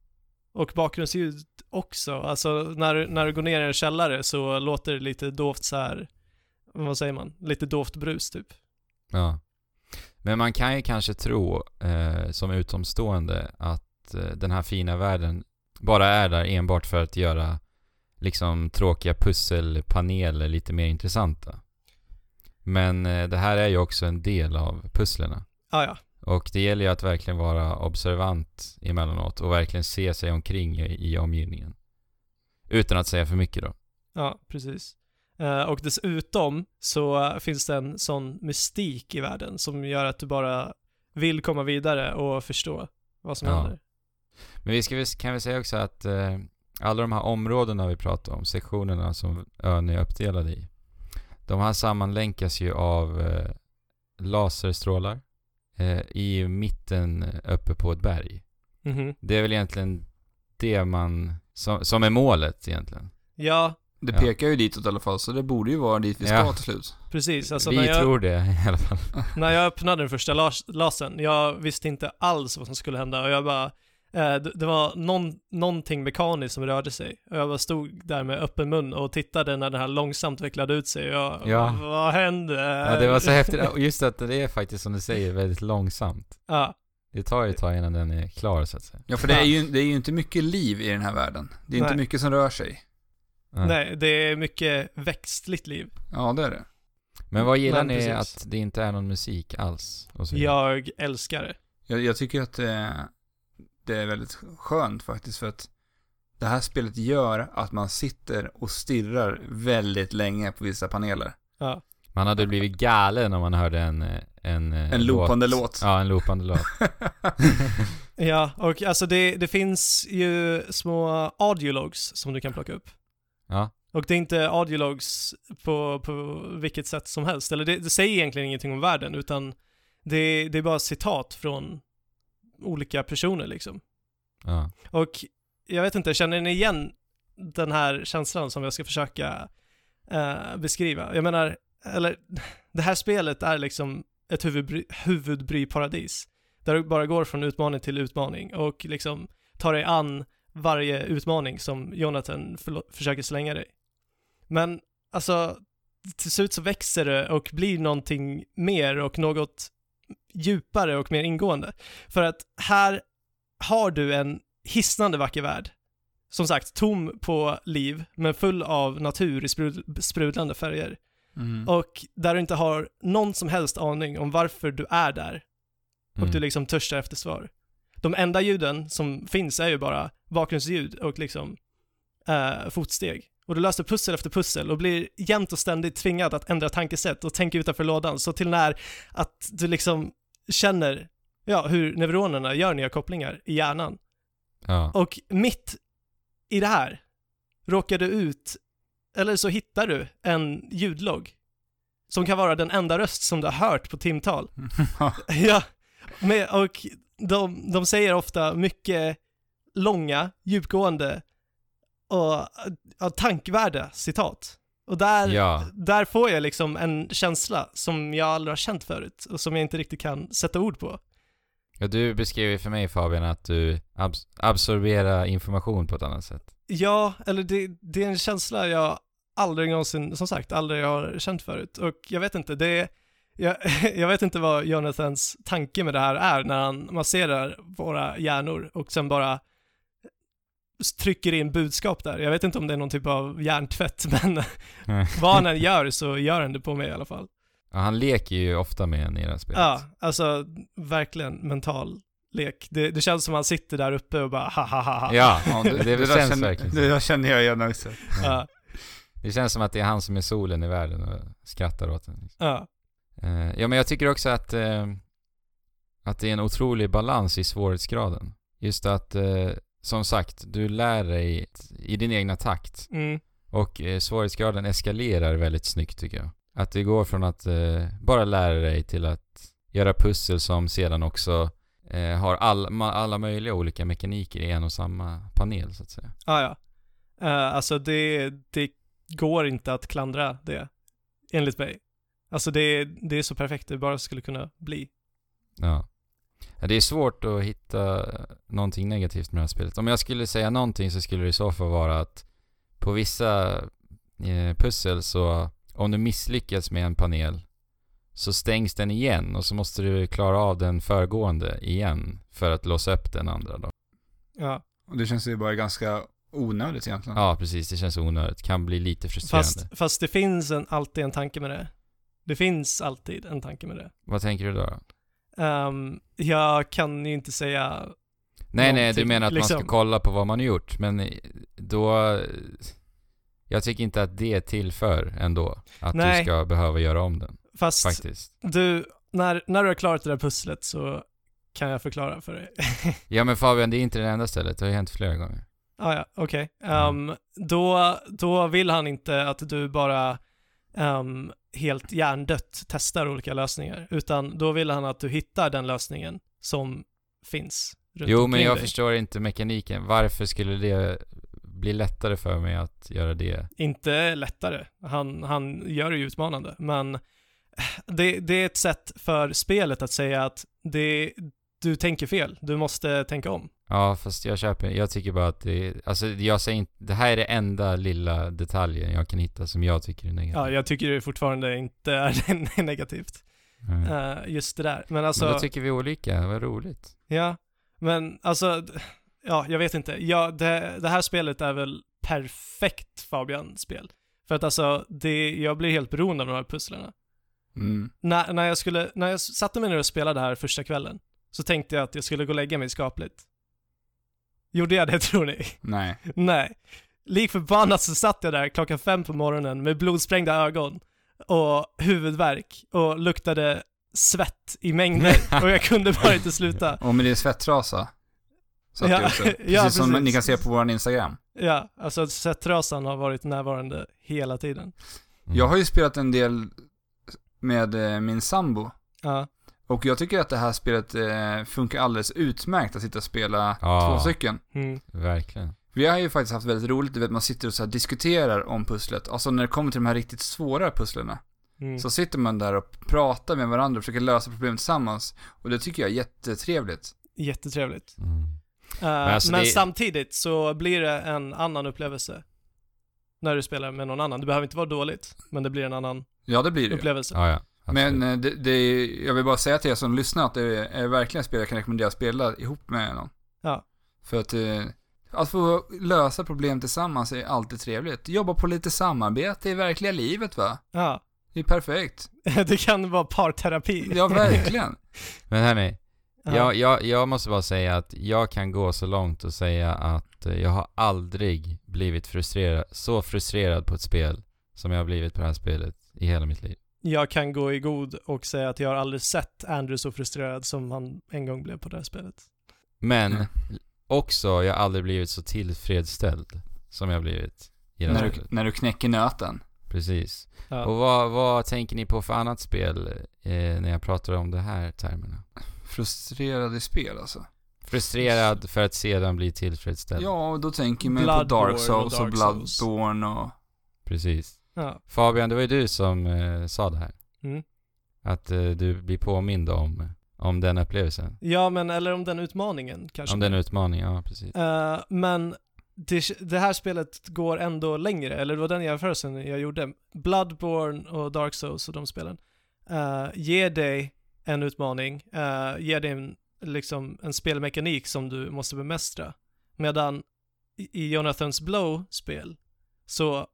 S2: Och bakgrundsljud också. Alltså när, du- när du går ner i en källare så låter det lite dovt så här, vad säger man, lite dovt brus typ.
S3: Ja. Men man kan ju kanske tro eh, som utomstående att eh, den här fina världen bara är där enbart för att göra liksom tråkiga pusselpaneler lite mer intressanta. Men eh, det här är ju också en del av pusslerna.
S2: Ah, ja,
S3: Och det gäller ju att verkligen vara observant emellanåt och verkligen se sig omkring i, i omgivningen. Utan att säga för mycket då.
S2: ja, precis. Eh, Och dessutom så eh, finns det en sån mystik i världen som gör att du bara vill komma vidare och förstå vad som
S3: Ja.
S2: händer.
S3: Men vi ska, väl- kan vi säga också att eh, alla de här områdena vi pratar om, sektionerna som ön är uppdelad i, de här sammanlänkas ju av eh, laserstrålar eh, i mitten eh, uppe på ett berg.
S2: Mhm.
S3: Det är väl egentligen det man, som, som är målet egentligen.
S2: Ja,
S1: Det
S3: Ja.
S1: pekar ju ditåt i alla fall, så det borde ju vara dit vi ska
S3: Ja.
S1: till slut.
S2: precis. Alltså,
S3: vi
S2: när jag,
S3: tror det i alla fall.
S2: När jag öppnade den första las- lasern, jag visste inte alls vad som skulle hända och jag bara, eh, det, det var någon, någonting mekaniskt som rörde sig och jag bara stod där med öppen mun och tittade när den här långsamt vecklade ut sig och jag,
S3: Ja.
S2: vad hände?
S3: Ja, det var
S2: Eh.
S3: så häftigt. Och Just att det är faktiskt som du säger väldigt långsamt.
S2: ja,
S3: Det tar ju ett tag innan den är klar så att säga.
S1: Ja, för det är, ju, det är ju inte mycket liv i den här världen. Det är
S2: Nej.
S1: inte mycket som rör sig.
S3: Ja.
S2: nej, det är mycket växtligt liv.
S1: Ja, det är det.
S3: Men vad gillar
S2: Men
S3: ni
S2: precis.
S3: att det inte är någon musik alls? Och så vidare?
S2: Jag älskar det.
S1: Jag, jag tycker att eh, det är väldigt skönt faktiskt, för att det här spelet gör att man sitter och stirrar väldigt länge på vissa paneler.
S2: Ja.
S3: Man hade blivit galen om man hörde en... eh, En, eh,
S1: En loopande låt.
S3: Ja, en loopande låt.
S2: ja, och alltså det, det finns ju små audiologs som du kan plocka upp.
S3: Ja,
S2: Och det är inte audiologs på, på vilket sätt som helst. Eller det, det säger egentligen ingenting om världen, utan det, det är bara citat från olika personer liksom.
S3: ja.
S2: Och jag vet inte, känner ni igen den här känslan som jag ska försöka eh, beskriva? Jag menar, eller det här spelet är liksom ett huvudbry, huvudbryparadis. Där du bara går från utmaning till utmaning och liksom tar dig an varje utmaning som Jonathan förlo- försöker slänga dig. Men alltså, till slut så växer det och blir någonting mer och något djupare och mer ingående. För att här har du en hisnande vacker värld. Som sagt, tom på liv, men full av natur i sprud- sprudlande färger.
S1: Mm.
S2: Och där du inte har någon som helst aning om varför du är där och
S3: Mm.
S2: du liksom törstar efter svar. De enda ljuden som finns är ju bara bakgrundsljud och liksom eh, fotsteg. Och du löser pussel efter pussel och blir jämt och ständigt tvingad att ändra tankesätt och tänka utanför lådan så till när att du liksom känner ja, hur neuronerna gör nya kopplingar i hjärnan.
S3: ja.
S2: Och mitt i det här råkar du ut, eller så hittar du en ljudlogg som kan vara den enda röst som du har hört på timtal. ja, med, och de, de säger ofta mycket långa, djupgående och ja, tankvärda citat. Och där,
S3: ja.
S2: där får jag liksom en känsla som jag aldrig har känt förut och som jag inte riktigt kan sätta ord på.
S3: Ja, du beskrev ju för mig Fabian att du abs- absorberar information på ett annat sätt.
S2: Ja, eller det, det är en känsla jag aldrig någonsin, som sagt, aldrig har känt förut. Och jag vet inte, det är, jag, jag vet inte vad Jonathans tanke med det här är när han masserar våra hjärnor och sen bara trycker in budskap där. Jag vet inte om det är någon typ av hjärntvätt, men vad han än gör så gör han det på mig i alla fall.
S3: Ja, han leker ju ofta med en i det här spelet.
S2: Ja, alltså verkligen mental lek. Det, det känns som han sitter där uppe och bara ha ha ha ha.
S3: Ja,
S1: Ja,
S3: det, det,
S1: där
S3: känns
S1: känner,
S3: verkligen
S1: Det
S3: så.
S1: där känner jag igen också.
S2: Ja,
S3: Mm. Det känns som att det är han som är solen i världen och skrattar åt den.
S2: ja,
S3: Eh, Ja, men jag tycker också att eh, att det är en otrolig balans i svårighetsgraden. Just att, eh, som sagt, du lär dig i din egna takt.
S2: Mm.
S3: Och eh, svårighetsgraden eskalerar väldigt snyggt tycker jag. Att det går från att eh, bara lära dig till att göra pussel som sedan också eh, har all, ma- alla möjliga olika mekaniker i en och samma panel så att säga.
S2: Ah, ja. Eh, alltså det, det går inte att klandra det, enligt mig. Alltså det, det är så perfekt det bara skulle kunna bli.
S3: Ja. Ja, Det är svårt att hitta någonting negativt med det här spelet. Om jag skulle säga någonting så skulle det i så fall vara att på vissa eh, pussel så om du misslyckas med en panel så stängs den igen och så måste du klara av den föregående igen för att låsa upp den andra då.
S2: Ja.
S1: Och det känns ju bara ganska onödigt egentligen.
S3: Ja, precis. Det känns onödigt. Kan bli lite frustrerande.
S2: Fast, fast det finns en, alltid en tanke med det. Det finns alltid en tanke med det.
S3: Vad tänker du då?
S2: Ehm, jag kan ju inte säga
S3: Nej, nej, du
S2: någonting,
S3: menar att man
S2: liksom.
S3: ska kolla på vad man har gjort, men då... Jag tycker inte att det tillför ändå, att
S2: Nej.
S3: du ska behöva göra om den,
S2: Fast
S3: faktiskt.
S2: du, när, när du har klarat det där pusslet så kan jag förklara för dig.
S3: Ja, men Fabian, det är inte det enda stället, det har ju hänt flera gånger.
S2: ah, ja, okej. Ehm,
S3: Mm.
S2: då, då vill han inte att du bara ehm, helt hjärndött testar olika lösningar, utan då vill han att du hittar den lösningen som finns runt
S3: Jo, men
S2: omkring
S3: jag
S2: dig.
S3: förstår inte mekaniken. Varför skulle det bli lättare för mig att göra det?
S2: Inte lättare, han, han gör det ju utmanande, men det, det är ett sätt för spelet att säga att det, du tänker fel, du måste tänka om.
S3: Ja, fast jag köper, jag tycker bara att det, alltså jag säger inte, det här är det enda lilla detaljen jag kan hitta som jag tycker är negativ.
S2: Ja, jag tycker det fortfarande inte är negativt.
S3: Mm.
S2: eh, just det där. Men alltså,
S3: men då tycker vi olika, vad roligt.
S2: ja, men alltså, d- ja, jag vet inte. Ja, det, det här spelet är väl perfekt Fabian-spel. För att alltså, det, jag blir helt beroende av de här pusslerna.
S1: Mm.
S2: När, när jag skulle, när jag s- satte mig ner och spelade det här första kvällen, så tänkte jag att jag skulle gå och lägga mig skapligt. Gjorde jag det tror ni?
S1: Nej.
S2: Nej. Lik förbannat så satt jag där klockan fem på morgonen med blodsprängda ögon och huvudvärk och luktade svett i mängder och jag kunde bara inte sluta.
S1: Och med din svettrasa. Så att
S2: Ja,
S1: det också.
S2: ja,
S1: Precis som
S2: precis.
S1: ni kan se på vår Instagram.
S3: Mm.
S2: Ja, alltså svettrasan har varit närvarande hela tiden.
S3: Mm.
S1: Jag har ju spelat en del med eh, min sambo.
S2: Ja,
S1: Och jag tycker att det här spelet eh, funkar alldeles utmärkt att sitta och spela
S3: Ja.
S1: två stycken.
S2: mm,
S3: Verkligen.
S1: Vi har ju faktiskt haft väldigt roligt, du vet man sitter och så här diskuterar om pusslet. Alltså när det kommer till de här riktigt svåra pusslerna.
S2: mm.
S1: Så sitter man där och pratar med varandra och försöker lösa problem tillsammans. Och det tycker jag är jättetrevligt.
S2: jättetrevligt.
S3: Mm.
S2: Eh, men
S3: alltså det-
S2: samtidigt så blir det en annan upplevelse när du spelar med någon annan. Det behöver inte vara dåligt, men det blir en annan
S1: Ja, det blir det ju.
S2: upplevelse.
S3: Ja, ja. absolut.
S1: Men eh, det, det är, jag vill bara säga till er som lyssnar att det är verkligen ett spel jag kan rekommendera att spela ihop med någon.
S2: Ja.
S1: För att, eh, att få lösa problem tillsammans är alltid trevligt. Jobba på lite samarbete i verkliga livet va?
S2: Ja,
S1: Det är perfekt.
S2: det kan vara parterapi.
S1: Ja, verkligen.
S3: Men hörni,
S2: Ja.
S3: jag, jag, jag måste bara säga att jag kan gå så långt och säga att eh, jag har aldrig blivit frustrerad, så frustrerad på ett spel som jag har blivit på det här spelet i hela mitt liv.
S2: jag kan gå i god och säga att jag har aldrig sett Andrew så frustrerad som han en gång blev på det här spelet.
S3: Men
S1: Mm.
S3: också, jag har aldrig blivit så tillfredsställd som jag har blivit i det här
S1: när, du,
S3: spelet.
S1: när du knäcker nöten.
S3: Precis.
S2: Ja.
S3: Och vad, vad tänker ni på för annat spel eh, när jag pratar om det här termerna?
S1: Frustrerad i spel alltså.
S3: Frustrerad för att sedan bli tillfredsställd.
S1: Ja, och då tänker man ju på
S2: Bloodborne
S1: Dark Souls
S2: och
S1: och,
S2: Dark Souls.
S1: Bloodborne och...
S3: Precis.
S2: ja.
S3: Fabian, det var ju du som eh, sa det här.
S2: Mm.
S3: Att eh, du blir påmind om, om den upplevelsen.
S2: ja, men eller om den utmaningen kanske.
S3: Om den utmaningen, ja precis.
S2: Eh, men det, det här spelet går ändå längre, eller det var den jämförelsen jag gjorde. Bloodborne och Dark Souls och de spelen eh, ger dig en utmaning, eh, ger dig en, liksom, en spelmekanik som du måste bemästra. Medan i i Jonathans Blow-spel så,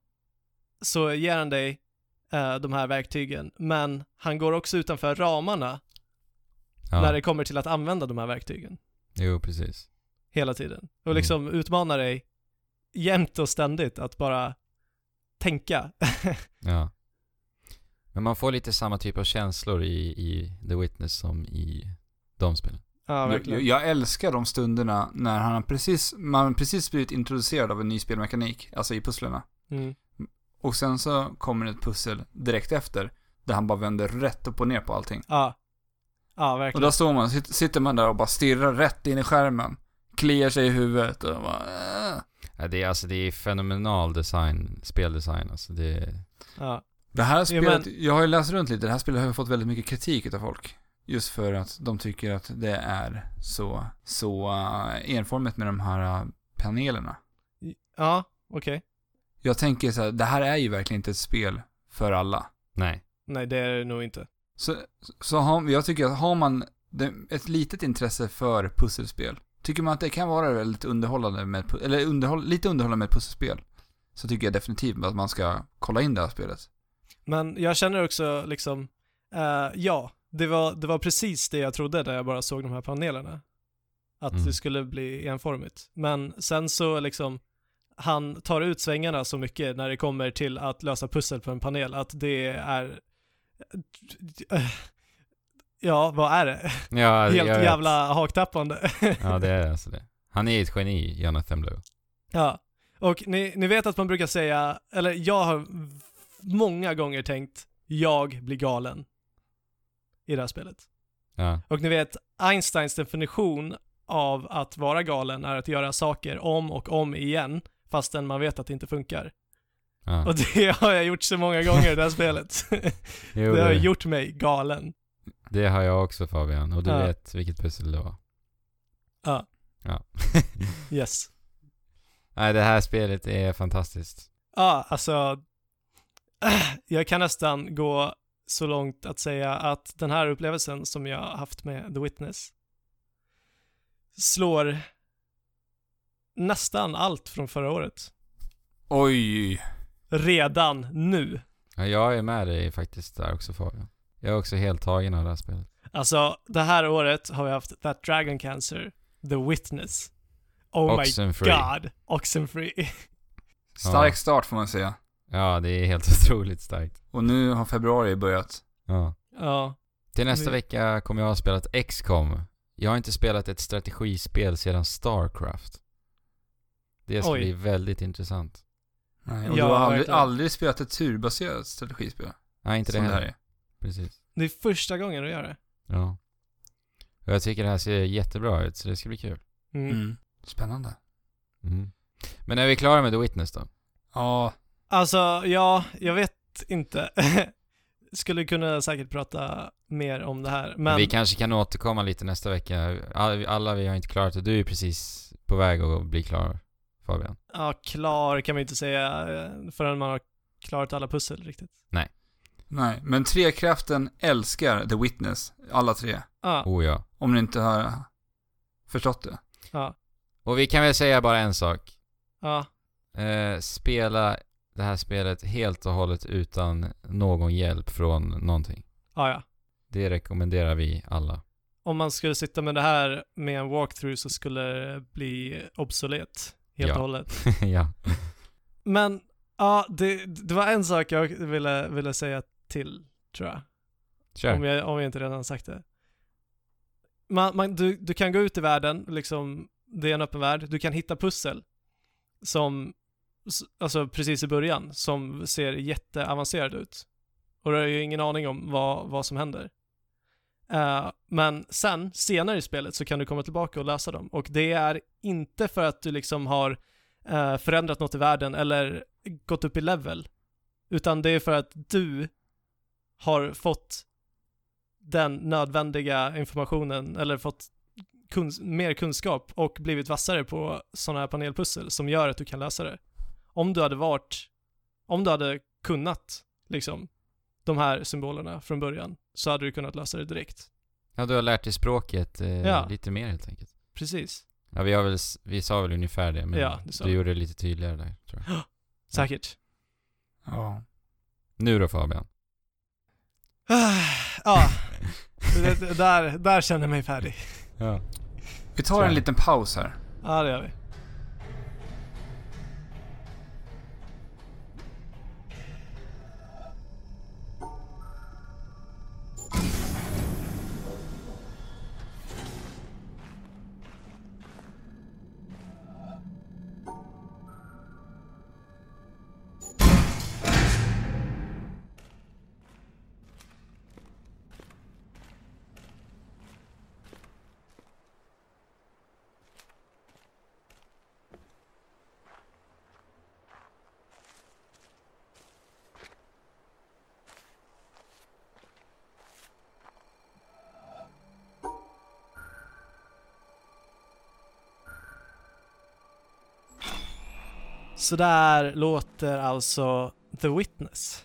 S2: så ger han dig eh, de här verktygen, men han går också utanför ramarna när
S3: Ja,
S2: det kommer till att använda de här verktygen
S3: jo precis.
S2: hela tiden. Och
S3: Mm.
S2: liksom utmanar dig jämt och ständigt att bara tänka.
S3: Ja. Men man får lite samma typ av känslor i, i The Witness som i de spelen.
S2: Ja,
S1: jag,
S2: verkligen.
S1: jag älskar de stunderna när han precis, man precis blivit introducerad av en ny spelmekanik, alltså i pusslerna.
S2: Mm.
S1: Och sen så kommer ett pussel direkt efter, där han bara vänder rätt upp och ner på allting.
S2: Ja. Ja,
S1: Och
S2: verkligen.
S1: där står man, sit- sitter man där och bara stirrar rätt in i skärmen. Kliar sig i huvudet och bara... Äh.
S3: Ja, det, är, alltså, det är fenomenal design, speldesign. Alltså, det,
S2: Ja.
S1: Det här
S2: Jo,
S1: spelet, jag har ju läst runt lite, det här spelet har ju fått väldigt mycket kritik av folk. Just för att de tycker att det är så, så eh, enformigt med de här eh, panelerna.
S2: Ja, okej.
S1: Jag tänker så här, det här är ju verkligen inte ett spel för alla.
S3: nej.
S2: Nej, det är det nog inte.
S1: Så, så har, jag tycker att har man det, ett litet intresse för pusselspel, tycker man att det kan vara väldigt underhållande med, ett pu- eller underhåll, lite underhållande med ett pusselspel, så tycker jag definitivt att man ska kolla in det här spelet.
S2: Men jag känner också liksom, eh, ja, det var, det var precis det jag trodde när jag bara såg de här panelerna. Att
S3: Mm.
S2: det skulle bli enformigt. Men sen så liksom, han tar ut svängarna så mycket när det kommer till att lösa pussel på en panel att det är, eh, ja, vad är det?
S3: Ja,
S2: Helt
S3: jag vet.
S2: jävla haktappande.
S3: Ja, det är alltså det. Han är ett geni, Jonathan Blow.
S2: Ja, och ni, ni vet att man brukar säga, eller jag har v- många gånger tänkt, jag blir galen i det här spelet.
S3: Ja,
S2: Och ni vet, Einsteins definition av att vara galen är att göra saker om och om igen, fastän man vet att det inte funkar.
S3: ja.
S2: Och det har jag gjort så många gånger i det här spelet.
S3: Jo,
S2: Det har
S3: det,
S2: gjort mig galen.
S3: det har jag också Fabian, och du
S2: Ja.
S3: vet vilket pussel det var.
S2: Ja.
S3: Ja.
S2: Yes.
S3: Nej, det här spelet är fantastiskt.
S2: Ja, alltså, äh, jag kan nästan gå så långt att säga att den här upplevelsen som jag har haft med The Witness slår nästan allt från förra året.
S1: Oj!
S2: Redan nu.
S3: Ja, jag är med dig faktiskt där också Fabian. Jag är också helt tagen av det här spelet.
S2: Alltså, det här året har vi haft That Dragon Cancer, The Witness, Oh
S3: Oxenfree.
S2: My God, Oxenfree.
S1: Stark
S3: Ja.
S1: start får man säga.
S3: Ja, det är helt otroligt starkt.
S1: Och nu har februari börjat.
S3: Ja.
S2: ja,
S3: Till nästa
S2: Vi-
S3: vecka kommer jag ha spelat XCOM. Jag har inte spelat ett strategispel sedan Starcraft. Det ska
S2: Oj.
S3: bli väldigt intressant.
S1: Nej, och
S2: Ja,
S1: du har aldrig,
S2: verkligen.
S1: aldrig spelat ett turbaserat strategispel.
S3: Nej, inte det
S1: som det här
S3: heller.
S1: är.
S3: Precis.
S2: det är första gången du gör det.
S3: Ja. Och jag tycker det här ser jättebra ut, så det ska bli kul.
S2: Mm.
S1: Mm. Spännande.
S3: Mm. Men är vi klara med The Witness då?
S1: Ja,
S2: Alltså, ja, jag vet inte. Skulle kunna säkert prata mer om det här, men
S3: Vi kanske kan återkomma lite nästa vecka. Alla, alla vi har inte klarat det. Du är precis på väg att bli klar, Fabian.
S2: ja, klar kan man ju inte säga eh, förrän man har klarat alla pussel riktigt.
S1: nej. Men Trekraften älskar The Witness, alla tre.
S2: Ja,
S3: Oh ja.
S1: Om ni inte har förstått det.
S2: ja,
S3: Och vi kan väl säga bara en sak.
S2: ja,
S3: Eh, spela det här spelet helt och hållet utan någon hjälp från någonting.
S2: ja, ja.
S3: Det rekommenderar vi alla.
S2: Om man skulle sitta med det här med en walkthrough så skulle det bli obsolet helt
S3: Ja.
S2: och hållet.
S3: ja.
S2: Men, ja, det, det var en sak jag ville, ville säga till, tror jag. Om
S3: Kör.
S2: jag, om jag inte redan har sagt det. Man, man, du, du kan gå ut i världen, liksom, det är en öppen värld. Du kan hitta pussel som, s- alltså precis i början, som ser jätteavancerade ut. Och du har ju ingen aning om vad, vad som händer. Eh, men sen, senare i spelet, så kan du komma tillbaka och lösa dem. Och det är inte för att du liksom har eh, förändrat något i världen eller gått upp i level. Utan det är för att du har fått den nödvändiga informationen eller fått kunns- mer kunskap och blivit vassare på sådana här panelpussel som gör att du kan lösa det. Om du hade varit, om du hade kunnat liksom de här symbolerna från början så hade du kunnat lösa det direkt.
S3: Ja, du har lärt dig språket eh,
S2: Ja.
S3: lite mer helt enkelt.
S2: Precis.
S3: Ja, vi, har väl, s- vi sa väl ungefär det, men
S2: Ja, det sa
S3: du
S2: vi.
S3: gjorde det lite tydligare där, tror jag.
S2: Säkert.
S1: Ja.
S3: Nu då Fabian.
S2: ja, det, det, där, där känner jag mig färdig.
S3: Ja.
S1: Vi tar en liten paus här.
S2: Ja, det gör vi. Så där låter alltså The Witness.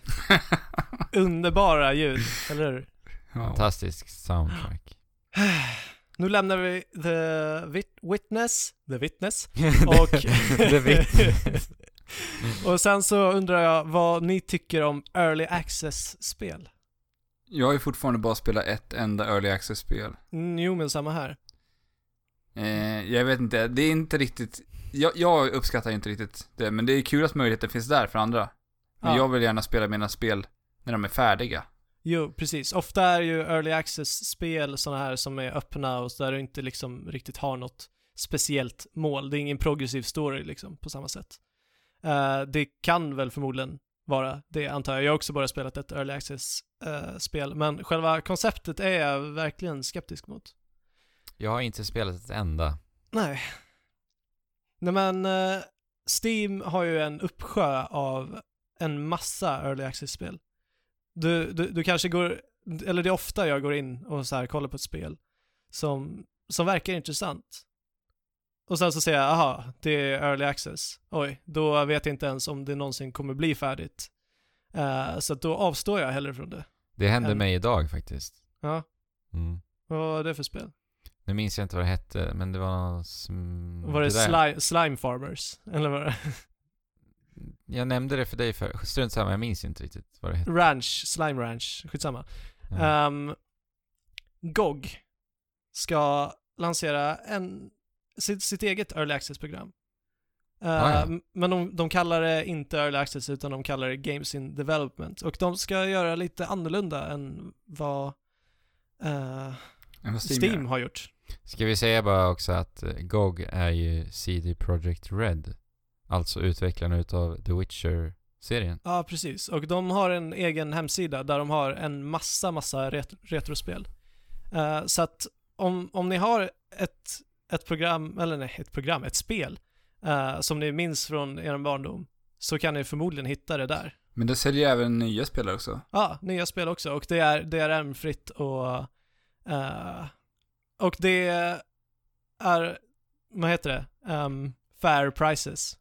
S2: Underbara ljud, eller hur?
S1: Ja.
S3: Fantastisk soundtrack.
S2: Nu lämnar vi The Wit- Witness, The Witness,
S3: och...
S2: och...
S3: The Witness.
S2: och sen så undrar jag vad ni tycker om Early Access-spel?
S1: Jag har ju fortfarande bara spelat ett enda Early Access-spel.
S2: Mm, Jo, men samma här.
S1: Eh, jag vet inte, det är inte riktigt... Jag, jag uppskattar inte riktigt det, men det är kul att möjligheten finns där för andra. Men
S2: Ja.
S1: jag vill gärna spela mina spel när de är färdiga.
S2: Jo, precis. Ofta är ju early access-spel sådana här som är öppna och där du inte liksom riktigt har något speciellt mål. Det är ingen progressiv story liksom på samma sätt. Eh, det kan väl förmodligen vara det antar jag. Jag har också bara spelat ett early access-spel, men själva konceptet är jag verkligen skeptisk mot.
S3: Jag har inte spelat ett enda.
S2: Nej. Nej men, eh, Steam har ju en uppsjö av en massa early access-spel. Du, du, du kanske går, eller det är ofta jag går in och så här kollar på ett spel som, som verkar intressant. Och sen så säger jag, aha, det är early access. Oj, då vet jag inte ens om det någonsin kommer bli färdigt. Eh, så att då avstår jag hellre från det.
S3: Det hände
S2: En-
S3: mig idag faktiskt.
S2: Ja,
S3: Mm.
S2: vad är det för spel?
S3: Nu minns jag inte vad det hette, men det var någon som...
S2: Var det
S3: Mm, där-
S2: slime, slime Farmers? Eller var det?
S3: Jag nämnde det för dig för strunt samma, jag minns inte riktigt vad det hette.
S2: Ranch, Slime Ranch, skitsamma.
S3: Ja.
S2: Ehm, GOG ska lansera en, sitt, sitt eget Early Access-program. Ehm,
S3: Ah, ja.
S2: Men de, de kallar det inte Early Access utan de kallar det Games in Development. Och de ska göra lite annorlunda än vad eh,
S1: Än vad
S2: Steam,
S1: Steam, gör.
S2: har gjort.
S3: Ska vi säga bara också att eh, GOG är ju CD Projekt Red. Alltså utvecklarna utav The Witcher-serien.
S2: Ja, precis. Och de har en egen hemsida där de har en massa, massa ret- retrospel. Eh, så att om, om ni har ett, ett program, eller nej, ett program, ett spel eh, som ni minns från er barndom så kan ni förmodligen hitta det där.
S1: Men det säljer även nya spelare också.
S2: Ja, nya spel också och det är DRM-fritt och eh, och det är, vad heter det, Ehm, fair prices.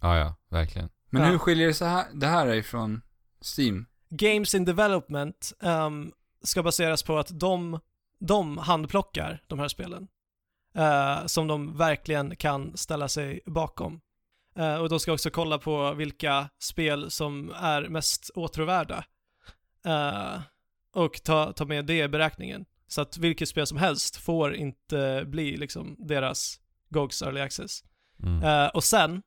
S3: Ja, ja, verkligen.
S1: Men
S2: Ja.
S1: hur skiljer det, så här, det här ifrån Steam?
S2: Games in Development ehm, ska baseras på att de, de handplockar de här spelen eh, som de verkligen kan ställa sig bakom. Eh, och de ska också kolla på vilka spel som är mest åtråvärda eh, och ta, ta med det i beräkningen. Så att vilket spel som helst får inte bli liksom deras GOGs Early Access.
S3: Mm.
S2: Eh, och sen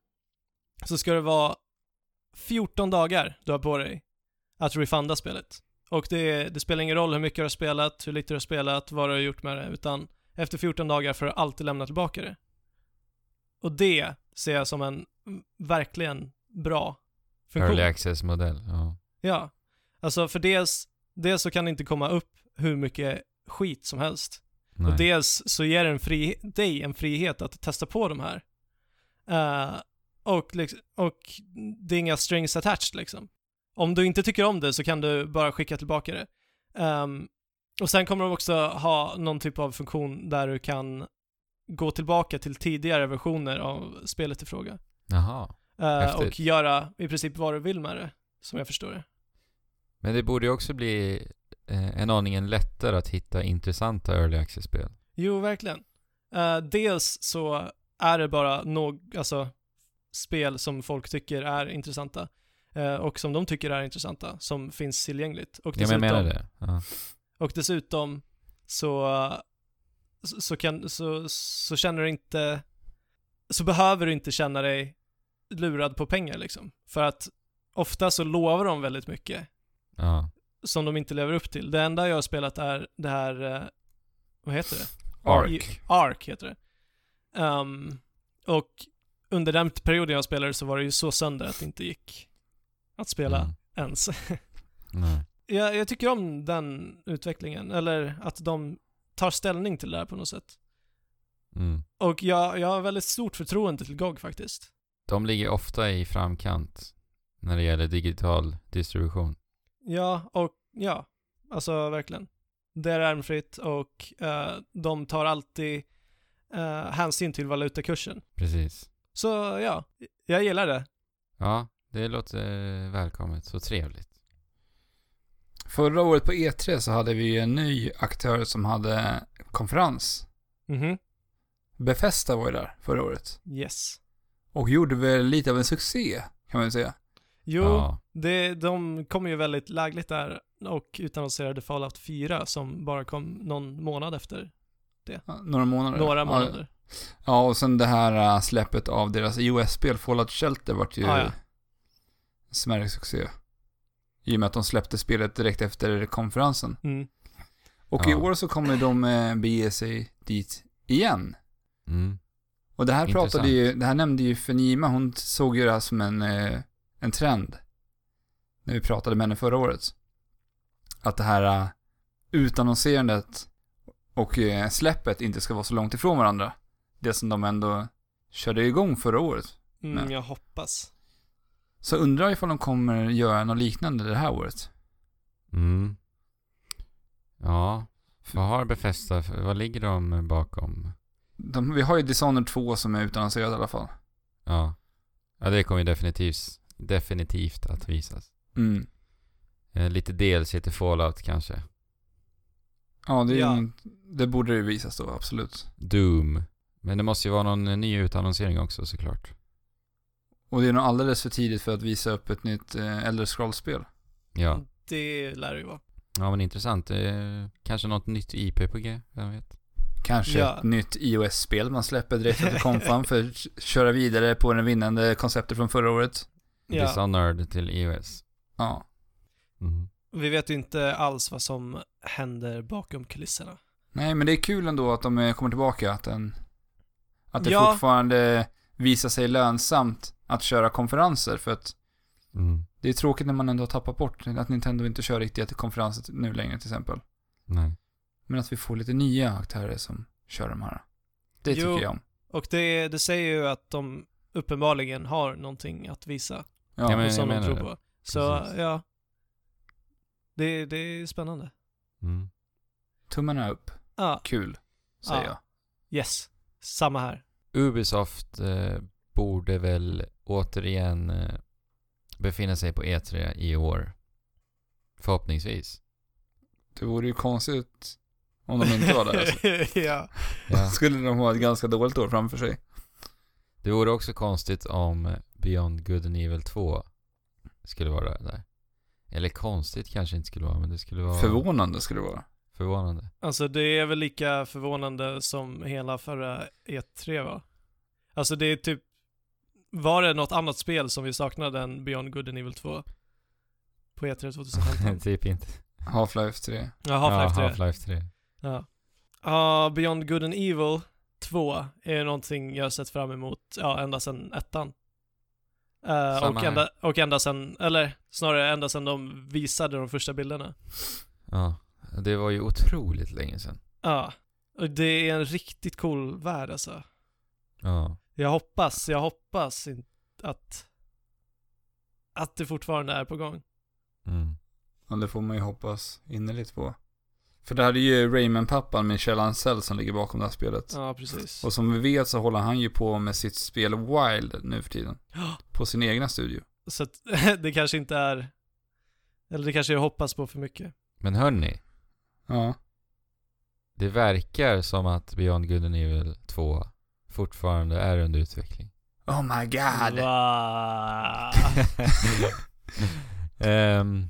S2: så ska det vara 14 dagar du har på dig att refunda spelet. Och det, det spelar ingen roll hur mycket du har spelat, hur lite du har spelat, vad du har gjort med det, utan efter 14 dagar får du alltid lämna tillbaka det. Och det ser jag som en mm, verkligen bra funktion.
S3: Early Access-modell, ja.
S2: Ja. Alltså för dels, dels så kan det inte komma upp hur mycket skit som helst.
S3: Nej.
S2: Och dels så ger den fri, dig en frihet att testa på de här. Eh, och, liksom, och det är inga strings attached liksom. Om du inte tycker om det så kan du bara skicka tillbaka det. Ehm, och sen kommer de också ha någon typ av funktion där du kan gå tillbaka till tidigare versioner av spelet i fråga.
S3: Jaha.
S2: Eh,
S3: Häftigt.
S2: och göra i princip vad du vill med det, som jag förstår det.
S3: Men det borde ju också bli eh, en aningen lättare att hitta intressanta Early Access-spel.
S2: Jo, verkligen. Eh, dels så är det bara någ, alltså, spel som folk tycker är intressanta eh, och som de tycker är intressanta, som finns tillgängligt. Och
S3: Ja, men jag
S2: dessutom,
S3: menar det. Ja.
S2: Och dessutom så, så, så, kan, så, så känner du inte, så behöver du inte känna dig lurad på pengar liksom. För att ofta så lovar de väldigt mycket
S3: ja.
S2: som de inte lever upp till. Det enda jag har spelat är det här, eh, vad heter det?
S1: Ark.
S2: Ark heter det. Ehm, och under den perioden jag spelade så var det ju så sönder att det inte gick att spela
S3: Mm.
S2: ens.
S3: Nej.
S2: jag, jag tycker om den utvecklingen, eller att de tar ställning till det här på något sätt.
S3: Mm.
S2: Och jag, jag har väldigt stort förtroende till GOG faktiskt.
S3: De ligger ofta i framkant när det gäller digital distribution.
S2: Ja, och ja, alltså verkligen. Det är armfritt och eh, de tar alltid eh, hänsyn till valutakursen.
S3: Precis.
S2: Så ja, jag gillar det.
S3: Ja, det låter välkommet. Så trevligt.
S1: Förra året på E3 så hade vi ju en ny aktör som hade konferens.
S2: Mhm,
S1: Befesta var ju där förra året.
S2: yes.
S1: Och gjorde väl lite av en succé, kan man ju säga.
S2: Jo,
S3: Ja.
S2: det, de kom ju väldigt lägligt där och utannonserade Fallout 4 som bara kom någon månad efter.
S1: Ja, Några månader.
S2: Några
S1: Ja,
S2: månader.
S1: Ja, och sen det här äh, släppet av deras iOS-spel Fallout Shelter vart ju
S2: Ja, ja.
S1: en smärre succé. I och med att de släppte spelet direkt efter konferensen.
S2: Mm.
S1: Och i
S3: Ja.
S1: år så kommer de eh, bege sig dit igen.
S3: Mm.
S1: Och det här pratade
S3: Intressant.
S1: ju, det här nämnde ju Fenima, hon såg ju det här som en, eh, en trend. När vi pratade med henne förra året. Att det här eh, utannonserandet och eh, släppet inte ska vara så långt ifrån varandra. Det som de ändå körde igång förra året.
S2: Mm,
S1: Nej.
S2: jag hoppas.
S1: Så undrar ifall de kommer göra något liknande det här året.
S3: Mm. Ja. Vad har Befesta, för- vad ligger de bakom?
S1: De, vi har ju Dishonored 2 som är utannonserad i alla fall.
S3: Ja. Ja, det kommer ju definitivt, definitivt att visas.
S1: Mm.
S3: Eh, lite DLC till Fallout kanske.
S1: Ja, det, är ju
S2: Ja.
S1: något- det borde ju visas då, absolut.
S3: Doom. Men det måste ju vara någon eh, ny utannonsering också såklart.
S1: Och det är nog alldeles för tidigt för att visa upp ett nytt eh, Elder Scrolls-spel.
S3: Ja.
S2: Det lär det ju vara.
S3: Ja men intressant. Eh, kanske något nytt IP på G, vem vet?
S1: Kanske
S2: Ja.
S1: ett nytt iOS-spel man släpper direkt efter konfan för att k- köra vidare på det vinnande konceptet från förra året.
S2: Ja.
S3: Dishonored till iOS.
S1: Ja.
S3: Mm.
S2: Vi vet ju inte alls vad som händer bakom kulisserna.
S1: Nej, men det är kul ändå att de eh, kommer tillbaka. Att, den, att det
S2: Ja.
S1: fortfarande visar sig lönsamt att köra konferenser. För att
S3: Mm.
S1: det är tråkigt när man ändå har tappat bort att Nintendo inte kör riktiga till konferenser t- nu längre till exempel.
S3: Nej.
S1: Men att vi får lite nya aktörer som kör de här. Det
S2: Jo.
S1: tycker jag om.
S2: Och det, det säger ju att de uppenbarligen har någonting att visa.
S1: Ja,
S3: Ja, men-
S2: och som de
S3: jag
S2: tror
S3: menar
S2: på. Så
S3: Precis.
S2: ja. Det, det är spännande.
S3: Mm.
S1: Tummarna upp.
S2: Ja,
S1: Kul, säger
S2: Ja.
S1: jag.
S2: yes. Samma här.
S3: Ubisoft eh, borde väl återigen eh, befinna sig på E3 i år. Förhoppningsvis.
S1: Det vore ju konstigt om de inte var där. Alltså.
S2: ja.
S3: Ja.
S1: Skulle de ha ett ganska dåligt år framför sig.
S3: Det vore också konstigt om eh, Beyond Good and Evil 2 skulle vara där. Eller konstigt kanske inte skulle vara, men det skulle vara
S1: Förvånande skulle det vara.
S3: förvånande.
S2: Alltså det är väl lika förvånande som hela förra E3 va? Alltså det är typ, var det något annat spel som vi saknade än Beyond Good and Evil 2? På E3 2015?
S3: typ inte.
S1: Half-Life 3.
S2: ja, Half-Life 3.
S3: Ja, Half-Life 3.
S2: Ja. Ja, Beyond Good and Evil 2 är ju någonting jag har sett fram emot, ja, ända sedan ettan. Eh,
S3: Samma
S2: och,
S3: här.
S2: ända, och ända sedan, eller snarare ända sedan de visade de första bilderna.
S3: Ja, det var ju otroligt länge sedan.
S2: Ja. Och det är en riktigt cool värld alltså.
S3: Ja.
S2: Jag hoppas, jag hoppas in- att att det fortfarande är på gång.
S3: Mm.
S1: Ja, det får man ju hoppas innerligt på. För det här är ju Rayman-pappan Michel Ancel som ligger bakom det här spelet.
S2: Ja, precis.
S1: Och som vi vet så håller han ju på med sitt spel Wild nu för tiden.
S2: Ja.
S1: På sin egna studio.
S2: Så att det kanske inte är, eller det kanske jag hoppas på för mycket.
S3: Men hörni,
S1: Ja.
S3: det verkar som att Beyond Good and Evil 2 fortfarande är under utveckling.
S1: Oh my
S2: Ah,
S1: god.
S2: Va?
S3: Ehm,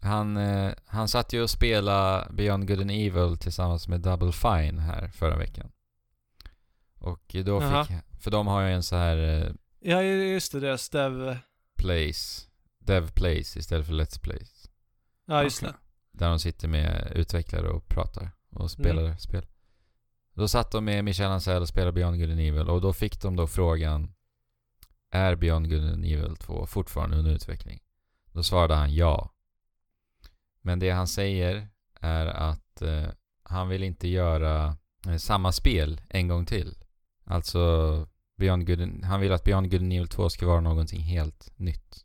S3: han, eh, han satt ju och spelade Beyond Good and Evil tillsammans med Double Fine här förra veckan. Och då fick,
S2: Jaha.
S3: för de har ju en så här eh,
S2: Ja, just det, deras dev.
S3: place, Dev Place istället för Let's Plays.
S2: Ja, just det.
S3: Där de sitter med utvecklare och pratar
S1: Mm.
S3: och spelar spel. Då satt de med Michel Ancel och spelade Beyond Good and Evil och då fick de då frågan Är Beyond Good and Evil 2 fortfarande under utveckling? Då svarade han ja. Men det han säger är att eh, han vill inte göra eh, samma spel en gång till. Alltså Beyond Good and, han vill att Beyond Good and Evil 2 ska vara någonting helt nytt.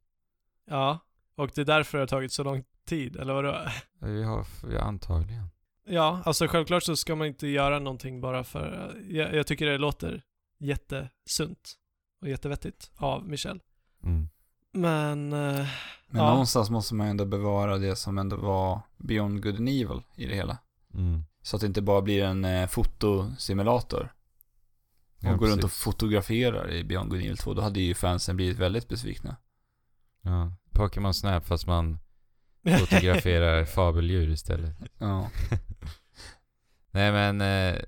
S2: Ja, och det är därför det har tagit så lång tid, eller vadå?
S3: Vi har, ja, antagligen.
S2: Ja, alltså självklart så ska man inte göra någonting bara för... Jag, jag tycker det låter jättesunt och jättevettigt av Michel.
S3: Mm.
S2: Men eh,
S1: Men
S2: Ja.
S1: någonstans måste man ju ändå bevara det som ändå var Beyond Good and Evil i det hela.
S3: Mm.
S1: Så att det inte bara blir en eh, fotosimulator. Och
S3: Ja,
S1: går runt och
S3: precis.
S1: fotograferar i Beyond Good and Evil 2. Då hade ju fansen blivit väldigt besvikna.
S3: Ja. Pokémon Snap fast man fotograferar fabeldjur istället.
S1: Ja.
S3: Nej men eh,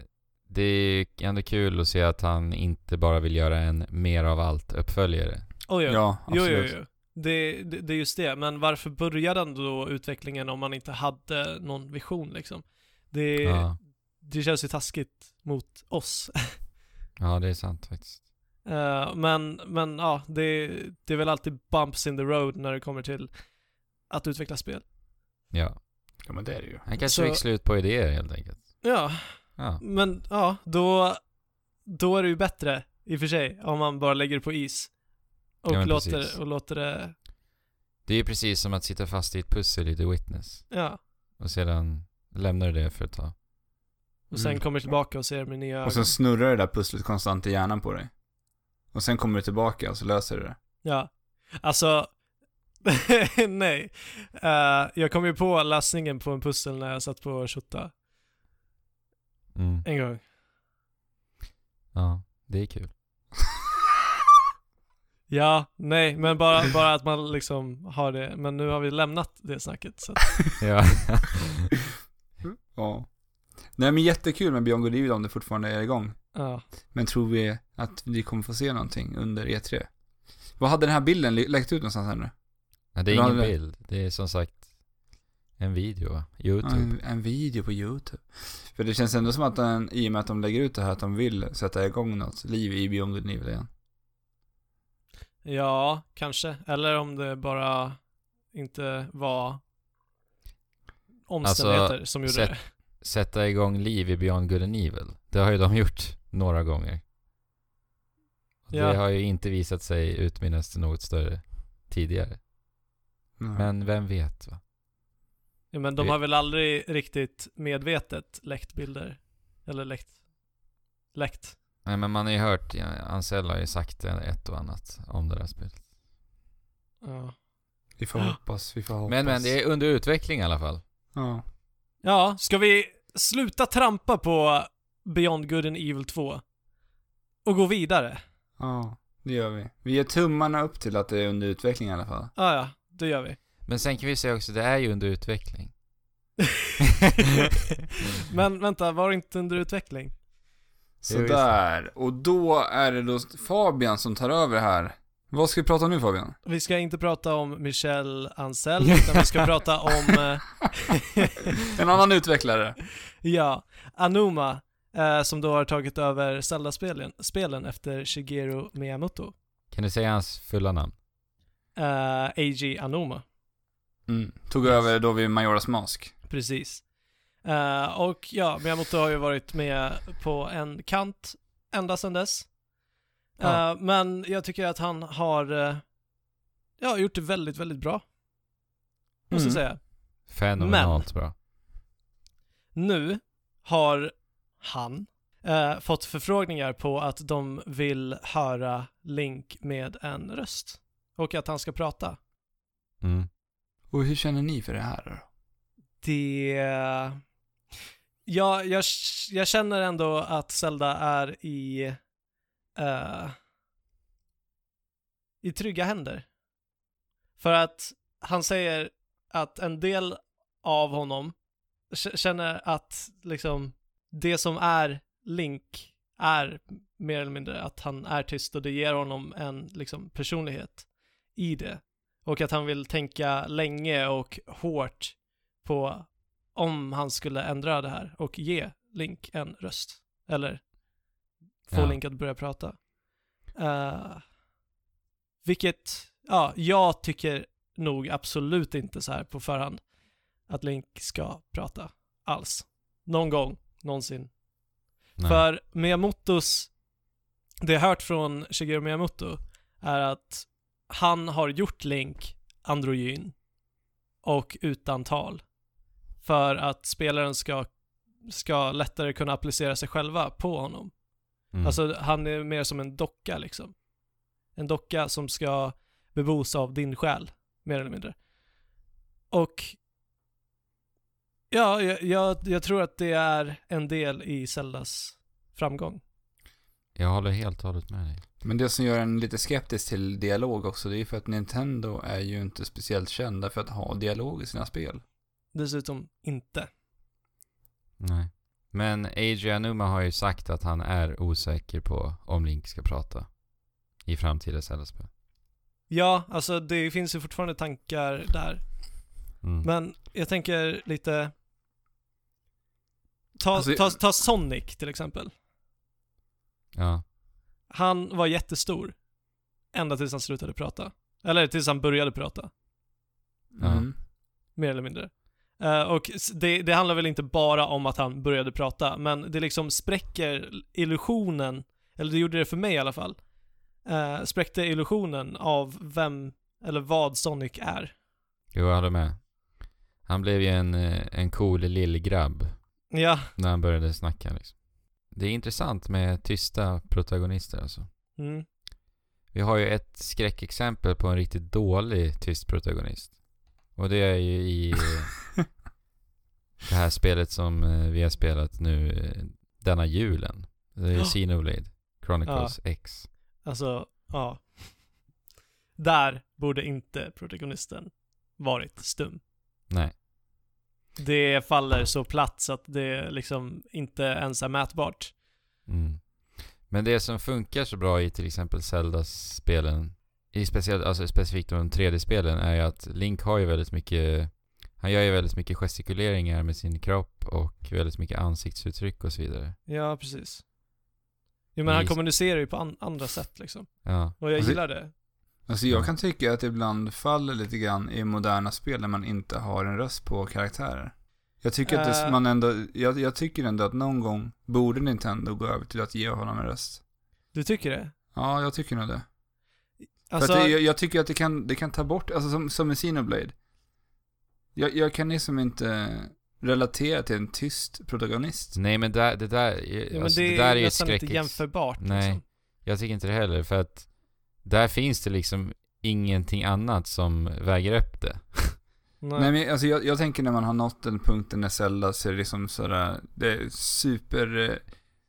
S3: det är ändå kul att se att han inte bara vill göra en mer av allt uppföljare.
S2: oj, oj,
S1: Ja,
S2: Jo,
S1: absolut.
S2: jo, jo. Det, det, det är just det. Men varför började ändå då utvecklingen om man inte hade någon vision liksom? Det,
S1: Eh.
S3: Ja.
S2: det känns ju taskigt mot oss.
S3: ja, det är sant faktiskt.
S2: Eh, men, men ja, det, det är väl alltid bumps in the road när det kommer till att utveckla spel.
S3: Ja.
S1: Ja, men det är det ju.
S3: Han kanske
S2: Så-
S3: fick slut på idéer helt enkelt.
S2: Ja,
S3: Ja.
S2: men ja, då, då är det ju bättre i och för sig om man bara lägger det på is. Och,
S3: Ja, men precis.
S2: låter, och låter det,
S3: Det är ju precis som att sitta fast i ett pussel i The Witness.
S2: ja.
S3: Och sedan lämnar du det för ett tag.
S2: Och sen
S1: Mm.
S2: kommer tillbaka och ser med nya ögon.
S1: Och sen snurrar det där pusslet konstant i hjärnan på dig. Och sen kommer du tillbaka och så löser du det.
S2: Ja, alltså nej. Eh, jag kom ju på lösningen på en pussel när jag satt på Shota
S3: Mm.
S2: en gång.
S3: Ja, det är kul.
S2: Ja, nej, men bara, bara att man liksom har det. Men nu har vi lämnat det snacket. Så att,
S3: Ja.
S1: Ja. Nej men jättekul med Beyond Good and Evil om det fortfarande är igång.
S2: ja.
S1: Men tror vi att vi kommer få se någonting under E3? Vad hade den här bilden lä- läckt ut någonstans här nu?
S3: Ja, det är
S1: Bra
S3: ingen
S1: det.
S3: bild. Det är som sagt en video, va?
S1: Ja,
S3: YouTube.
S1: En, en video på YouTube. För det känns ändå som att den, i och med att de lägger ut det här, att de vill sätta igång något liv i Beyond Good and Evil igen.
S2: ja, kanske. Eller om det bara inte var omständigheter som gjorde
S3: sett-
S2: det.
S3: Sätta igång liv i Beyond Good and Evil. Det har ju de gjort några gånger. Och
S2: Ja.
S3: Det har ju inte visat sig utmynnas till något större tidigare.
S1: Mm.
S3: Men vem vet, va?
S2: Ja, men de har väl aldrig riktigt medvetet läckt bilder. Eller läckt. Läckt.
S3: Nej, men man har ju hört, ja, Ansel har ju sagt ett och annat om det där spelet.
S2: Ja,
S1: vi får hoppas, vi får hoppas.
S3: Men, men det är under utveckling i alla fall.
S1: Ja.
S2: Ja, ska vi sluta trampa på Beyond Good and Evil 2? Och gå vidare?
S1: Ja, det gör vi. Vi ger tummarna upp till att det är under utveckling i alla fall.
S2: Ja, ja, det gör vi.
S3: Men sen kan vi säga också, det är ju under utveckling.
S2: Men vänta, var det inte under utveckling?
S3: Jo, just
S1: Sådär. Och då är det då Fabian som tar över här. Vad ska vi prata om nu Fabian?
S2: Vi ska inte prata om Michel Ansel, utan vi ska prata om, eh,
S1: En annan utvecklare.
S2: ja, Anuma, eh, som då har tagit över Zelda-spelen spelen efter Shigeru Miyamoto.
S3: kan du säga hans fulla namn?
S2: Eh, A.G. Anuma.
S1: Mm. Tog
S2: Yes.
S1: över då vid Majoras Mask.
S2: Precis. Eh, och ja, Miyamoto har ju varit med på en kant ända sedan dess. Eh,
S1: Ja.
S2: Men jag tycker att han har eh, ja, gjort det väldigt, väldigt bra. Måste
S1: Mm.
S2: jag säga.
S3: Fenomenalt bra.
S2: Nu har han eh, fått förfrågningar på att de vill höra Link med en röst. Och att han ska prata.
S3: Mm.
S1: Och hur känner ni för det här då?
S2: Det... Ja, jag, jag känner ändå att Zelda är i... eh, I trygga händer. För att han säger att en del av honom k- känner att liksom det som är Link är mer eller mindre att han är tyst och det ger honom en liksom personlighet i det. Och att han vill tänka länge och hårt på om han skulle ändra det här och ge Link en röst. Eller få
S3: Ja.
S2: Link att börja prata. Eh, vilket, ja, jag tycker nog absolut inte så här på förhand att Link ska prata alls. Någon gång, någonsin.
S3: Nej.
S2: För Miyamotos, det jag har hört från Shigeru Miyamoto är att han har gjort Link androgyn och utan tal för att spelaren ska, ska lättare kunna applicera sig själva på honom.
S3: Mm.
S2: Alltså han är mer som en docka liksom. En docka som ska bebos av din själ, mer eller mindre. Och ja, jag, jag, jag tror att det är en del i Zeldas framgång.
S3: Jag håller helt och hållet med dig.
S1: Men det som gör en lite skeptisk till dialog också, det är ju för att Nintendo är ju inte speciellt kända för att ha dialog i sina spel.
S2: Dessutom inte.
S3: Nej. Men Eiji Anuma har ju sagt att han är osäker på om Link ska prata i framtida Zelda-spel.
S2: Ja, alltså det finns ju fortfarande tankar där.
S3: Mm.
S2: Men jag tänker lite... Ta,
S1: Alltså,
S2: ta, ta Sonic till exempel.
S3: Ja.
S2: Han var jättestor. Ända tills han slutade prata. Eller tills han började prata,
S3: Ja.
S1: Mm.
S2: mer eller mindre. Eh, och s- det, det handlar väl inte bara om att han började prata, men det liksom spräcker illusionen, eller det gjorde det för mig i alla fall, uh, spräckte illusionen av vem, eller vad Sonic är.
S3: Jo, jag håller med. Han blev ju en, eh, en cool lillgrabb
S2: Ja,
S3: när han började snacka liksom. Det är intressant med tysta protagonister alltså.
S2: mm,
S3: Vi har ju ett skräckexempel på en riktigt dålig tyst protagonist. Och det är ju i eh, det här spelet som eh, vi har spelat nu eh, denna julen. Det är ju
S2: Ja.
S3: Xenoblade Chronicles X.
S2: alltså, ja. Där borde inte protagonisten varit stum.
S3: Nej,
S2: Det faller så platt så att det liksom inte ens är mätbart.
S3: Mm. Men det som funkar så bra i till exempel Zelda-spelen, i speciellt, alltså specifikt de 3D-spelen, är ju att Link har ju väldigt mycket, han gör ju väldigt mycket gestikuleringar med sin kropp och väldigt mycket ansiktsuttryck och så vidare.
S2: Ja, precis. Jo men han
S3: Just-
S2: kommunicerar ju på an- andra sätt liksom.
S3: Ja,
S2: Och jag
S1: Alltså-
S2: gillar det.
S1: Alltså jag kan tycka att det ibland faller lite grann i moderna spel när man inte har en röst på karaktärer. Jag tycker att det,
S2: Eh.
S1: man ändå, jag, jag tycker ändå att någon gång borde Nintendo gå över till att ge honom en röst.
S2: Du tycker det?
S1: Ja, jag tycker nog det.
S2: Alltså,
S1: För att det, jag, jag tycker att det kan, det kan ta bort, alltså som, som i Xenoblade. Jag, jag kan liksom inte relatera till en tyst protagonist.
S3: Nej men där, det där,
S2: ja, men
S3: alltså,
S2: det,
S3: det, där är ju ett
S2: nästan
S3: skräck.
S2: inte jämförbart
S3: Nej.
S2: liksom.
S3: Jag tycker inte det heller för att där finns det liksom ingenting annat som väger upp det.
S2: Nej.
S1: Nej, men alltså jag, jag tänker när man har nått den punkten när Zelda ser liksom sådär, det är super, eh,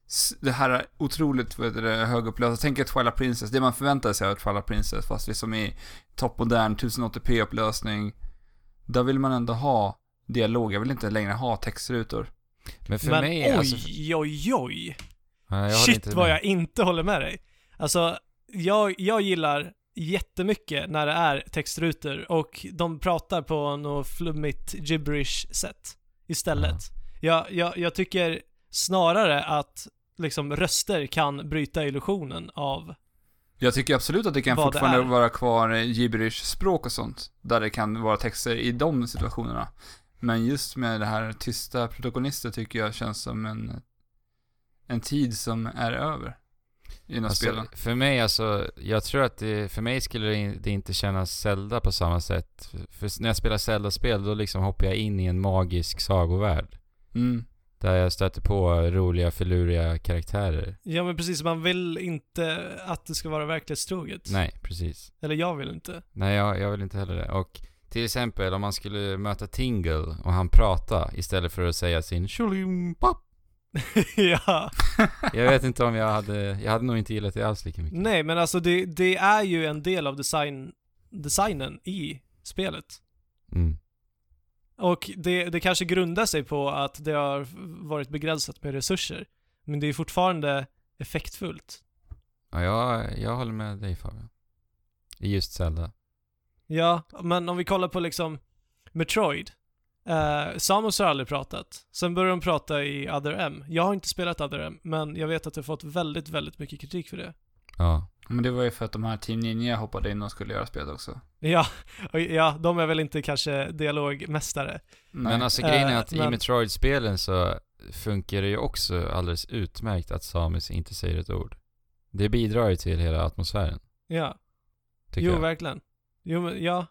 S1: s- det här är otroligt vad heter det, högupplöst. Tänk ett Twilight Princess, det man förväntar sig av ett Twilight Princess fast liksom i toppmodern 1080p-upplösning. Där vill man ändå ha dialog, jag vill inte längre ha textrutor.
S3: Men för
S2: men
S3: mig,
S2: oj,
S3: alltså...
S2: oj, oj.
S3: Ja, jag håller
S2: Shit
S3: inte med.
S2: vad jag inte håller med dig. Alltså, jag, jag gillar jättemycket när det är textrutor och de pratar på något flummigt gibberish sätt istället. Jag, jag, jag tycker snarare att liksom röster kan bryta illusionen av
S1: Jag tycker absolut att det kan
S2: Vad det
S1: fortfarande
S2: är.
S1: vara kvar eh, gibberish-språk och sånt. Där det kan vara texter i de situationerna. Men just med det här tysta protagonister tycker jag känns som en, en tid som är över. Inom
S3: Alltså,
S1: spelen.
S3: för mig alltså, jag tror att det, för mig skulle det in- det inte kännas Zelda på samma sätt. För- För när jag spelar Zelda-spel då liksom hoppar jag in i en magisk sagovärld.
S1: Mm.
S3: Där jag stöter på roliga, förluriga karaktärer.
S2: Ja men precis, man vill inte att det ska vara verklighetstroget.
S3: Nej, precis.
S2: Eller jag vill inte.
S3: Nej, jag, jag vill inte heller det. Och till exempel om man skulle möta Tingle och han prata istället för att säga sin tjolimpap.
S2: ja.
S3: Jag vet inte om jag hade, jag hade nog inte gillat det alls lika mycket.
S2: Nej men alltså det, det är ju en del av design, designen i spelet.
S3: Mm.
S2: Och det, det kanske grundar sig på att det har varit begränsat med resurser. Men det är fortfarande effektfullt.
S3: Ja, jag, jag håller med dig Fabian. I just Zelda.
S2: Ja, men om vi kollar på liksom Metroid. Eh, Samus har aldrig pratat. Sen började de prata i Other M. Jag har inte spelat Other M, men jag vet att jag fått väldigt, väldigt mycket kritik för det.
S3: Ja.
S1: Men det var ju för att de här Team Ninja hoppade in och skulle göra spelet också.
S2: Ja, och ja, de är väl inte kanske dialogmästare.
S1: Nej.
S3: Men alltså grejen är att
S2: Eh,
S3: i
S2: men-
S3: Metroid-spelen så funkar det ju också alldeles utmärkt att Samus inte säger ett ord. Det bidrar ju till hela atmosfären,
S2: Ja,
S3: tycker
S2: jo
S3: jag.
S2: verkligen. Jo men ja,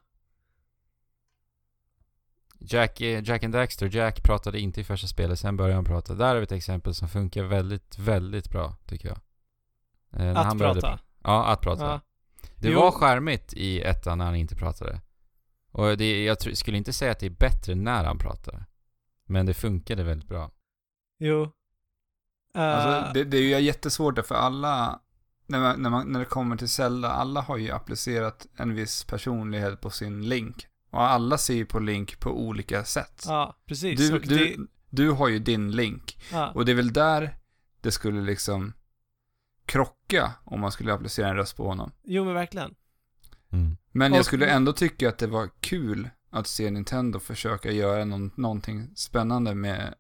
S3: Jack, eh, Jack and Daxter, Jack pratade inte i första spelet, sen började han prata. Där har vi ett exempel som funkar väldigt, väldigt bra, tycker jag. Eh, när
S2: att
S3: började
S2: prata.
S3: pr- Ja, att prata.
S2: Ja.
S3: Det
S2: Jo.
S3: var skärmigt i ettan när han inte pratade. Och det, jag tr- skulle inte säga att det är bättre när han pratar. Men det funkade väldigt bra.
S2: Jo. Eh,
S1: Alltså, det, det är ju jättesvårt där, för alla, när, man, när, man, när det kommer till Zelda, alla har ju applicerat en viss personlighet på sin Link. Och alla ser ju på Link på olika sätt.
S2: Ja, precis.
S1: du,
S2: Och
S1: du,
S2: det,
S1: du har ju din Link.
S2: ja.
S1: Och det är väl där det skulle liksom krocka om man skulle applicera en röst på honom.
S2: Jo, men verkligen.
S1: Men jag
S2: Och-
S1: skulle ändå tycka att det var kul att se Nintendo försöka göra någon, någonting spännande med,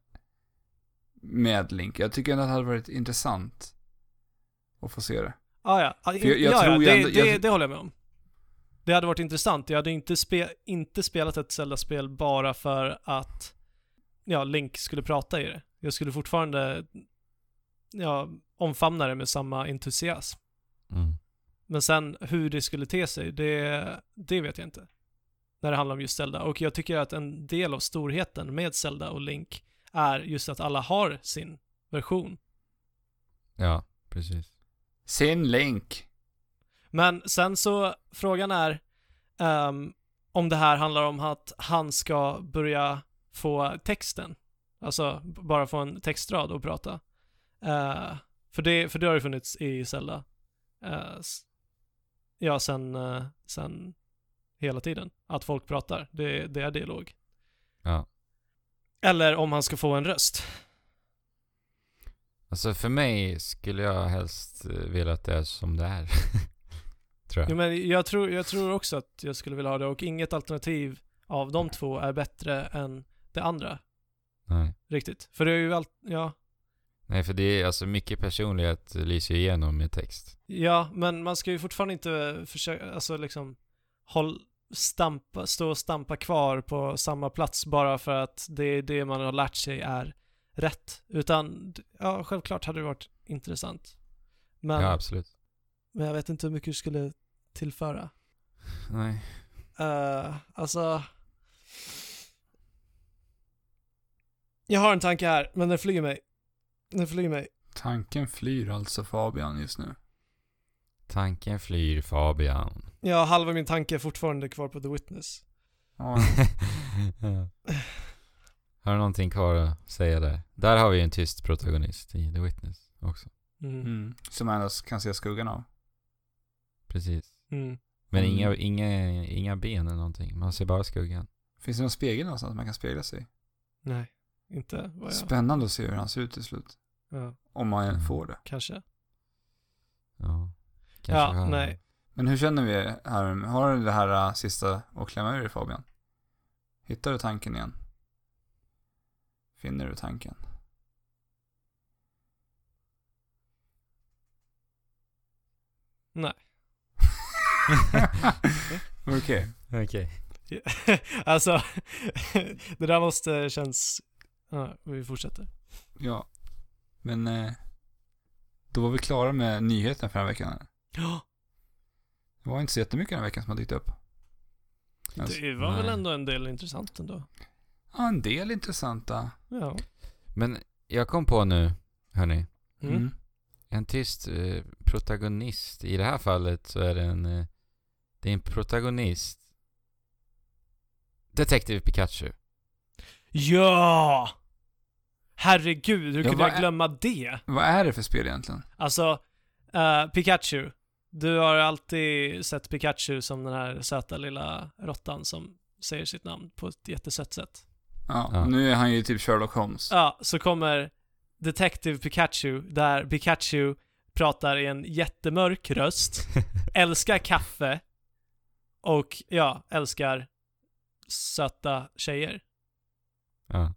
S1: med Link. Jag tycker ändå att det hade varit intressant att få se det.
S2: Ah, ja, ja.
S1: För jag- jag
S2: ja,
S1: tror ju
S2: ja. Det,
S1: ändå-
S2: det,
S1: jag-
S2: det håller jag med om. Det hade varit intressant. Jag hade inte, spe, inte spelat ett Zelda-spel bara för att ja, Link skulle prata i det. Jag skulle fortfarande ja, omfamna det med samma entusiasm.
S3: Mm.
S2: Men sen hur det skulle te sig, det, det vet jag inte. När det handlar om just Zelda. Och jag tycker att en del av storheten med Zelda och Link är just att alla har sin version.
S3: Ja, precis.
S1: Sin Link.
S2: Men sen så, frågan är ehm, om det här handlar om att han ska börja få texten. Alltså b- bara få en textrad och prata. Eh, för, det, för det har ju funnits i Zelda. eh, s- ja, sen, eh, sen hela tiden. Att folk pratar. Det, det är dialog.
S3: Ja.
S2: Eller om han ska få en röst.
S3: Alltså för mig skulle jag helst eh, vilja att det är som det är. Tror
S2: Jo,
S3: jag.
S2: men jag, tror, jag tror också att jag skulle vilja ha det och inget alternativ av de två är bättre än det andra.
S3: Nej.
S2: Riktigt. För det är ju allt, ja.
S3: Nej, för det är alltså mycket personlighet lyser igenom i text.
S2: Ja, men man ska ju fortfarande inte försöka, alltså liksom, håll, stampa, stå och stampa kvar på samma plats bara för att det är det man har lärt sig är rätt. Utan, d- ja, självklart hade det varit intressant. Men,
S3: Ja, absolut.
S2: men jag vet inte hur mycket du skulle tillföra.
S3: Nej.
S2: Uh, alltså... Jag har en tanke här, men den flyger mig. Den flyger mig.
S1: Tanken flyr alltså Fabian just nu.
S3: Tanken flyr Fabian.
S2: Jag har halva min tanke fortfarande kvar på The Witness.
S1: Ja,
S3: Ja. Har du någonting kvar att säga där? Där har vi ju en tyst protagonist i The Witness också.
S2: Mm.
S1: mm. Som man endast kan se skuggan av.
S3: Precis.
S2: Mm.
S3: Men
S1: Mm.
S3: inga, inga, inga ben eller någonting. Man ser bara skuggan.
S1: Finns det någon spegel någonstans man kan spegla sig i?
S2: Nej, inte vad jag...
S1: Spännande att se hur han ser ut till slut.
S2: Ja,
S1: Om man
S3: Mm.
S1: får det.
S2: kanske.
S3: Ja.
S2: Ja,
S3: vi har-
S2: nej.
S1: Men hur känner vi här? Har du det här äh, sista att klämma ur dig, Fabian? Hittar du tanken igen? Finner du tanken?
S2: Nej.
S1: Okej.
S3: Okej.
S2: alltså, det där måste känns... Ja, vi fortsätter.
S1: Ja. Men eh, då var vi klara med nyheten för den här veckan.
S2: Ja,
S1: Det var inte så jättemycket den här veckan som har dykt upp. Alltså,
S2: det var väl
S3: nej.
S2: ändå en del intressant ändå.
S1: ja, en del intressanta.
S2: Ja.
S3: Men jag kom på nu, hörni.
S2: Mm.
S1: Mm.
S3: En tyst eh, protagonist. I det här fallet så är det en... Eh, det är en protagonist. Detective Pikachu.
S2: Ja! Herregud, hur
S1: Ja,
S2: kunde
S1: vad
S2: jag
S1: är-
S2: glömma det?
S1: Vad är det för spel egentligen?
S2: Alltså, eh, Pikachu. Du har alltid sett Pikachu som den här söta lilla råttan som säger sitt namn på ett jättesött sätt.
S1: Ja,
S3: Ja.
S1: Nu är han ju typ Sherlock Holmes.
S2: Ja, så kommer Detective Pikachu, där Pikachu pratar i en jättemörk röst, älskar kaffe och ja, älskar söta tjejer.
S3: ja.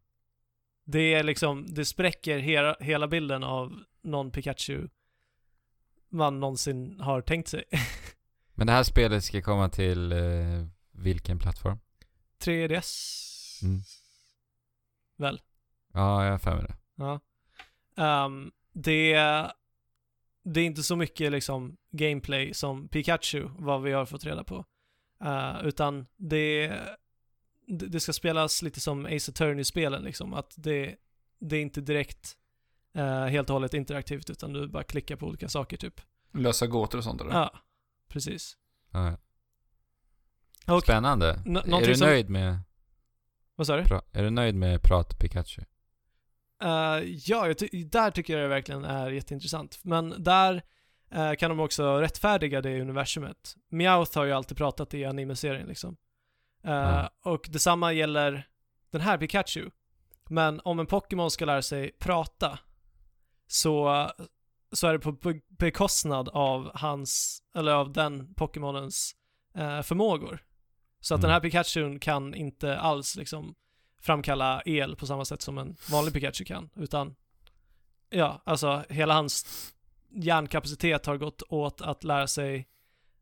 S2: Det är liksom, det spräcker hela, hela bilden av någon Pikachu man någonsin har tänkt sig.
S3: Men det här spelet ska komma till eh, vilken plattform?
S2: 3DS?
S3: Mm.
S2: Väl?
S3: Ja, jag har för mig det.
S2: Ja. Ehm, det, det är inte så mycket liksom gameplay som Pikachu, vad vi har fått reda på. Eh, utan det, det det ska spelas lite som Ace Attorney-spelen liksom, att det, det är inte direkt eh, helt och hållet interaktivt utan du bara klickar på olika saker typ.
S1: Mm. Lösa gåtor och sånt där.
S2: Ja, precis.
S3: Ja, ja.
S2: Och-
S3: Spännande.
S2: Nå-
S3: är,
S2: någonting
S3: du
S2: som-
S3: nöjd med,
S2: Vad sa du?
S3: pra- är du nöjd med Prat Pikachu?
S2: Eh, ja, jag ty- där tycker jag det verkligen är jätteintressant. Men där eh, kan de också rättfärdiga det universumet. Meowth har ju alltid pratat i animeserien liksom. Eh,
S3: Ja.
S2: Och detsamma gäller den här Pikachu. Men om en Pokémon ska lära sig prata så, så är det på be- bekostnad av hans, eller av den Pokémonens eh, förmågor. Så att den här Pikachu kan inte alls liksom framkalla el på samma sätt som en vanlig Pikachu kan, utan ja, alltså hela hans hjärnkapacitet har gått åt att lära sig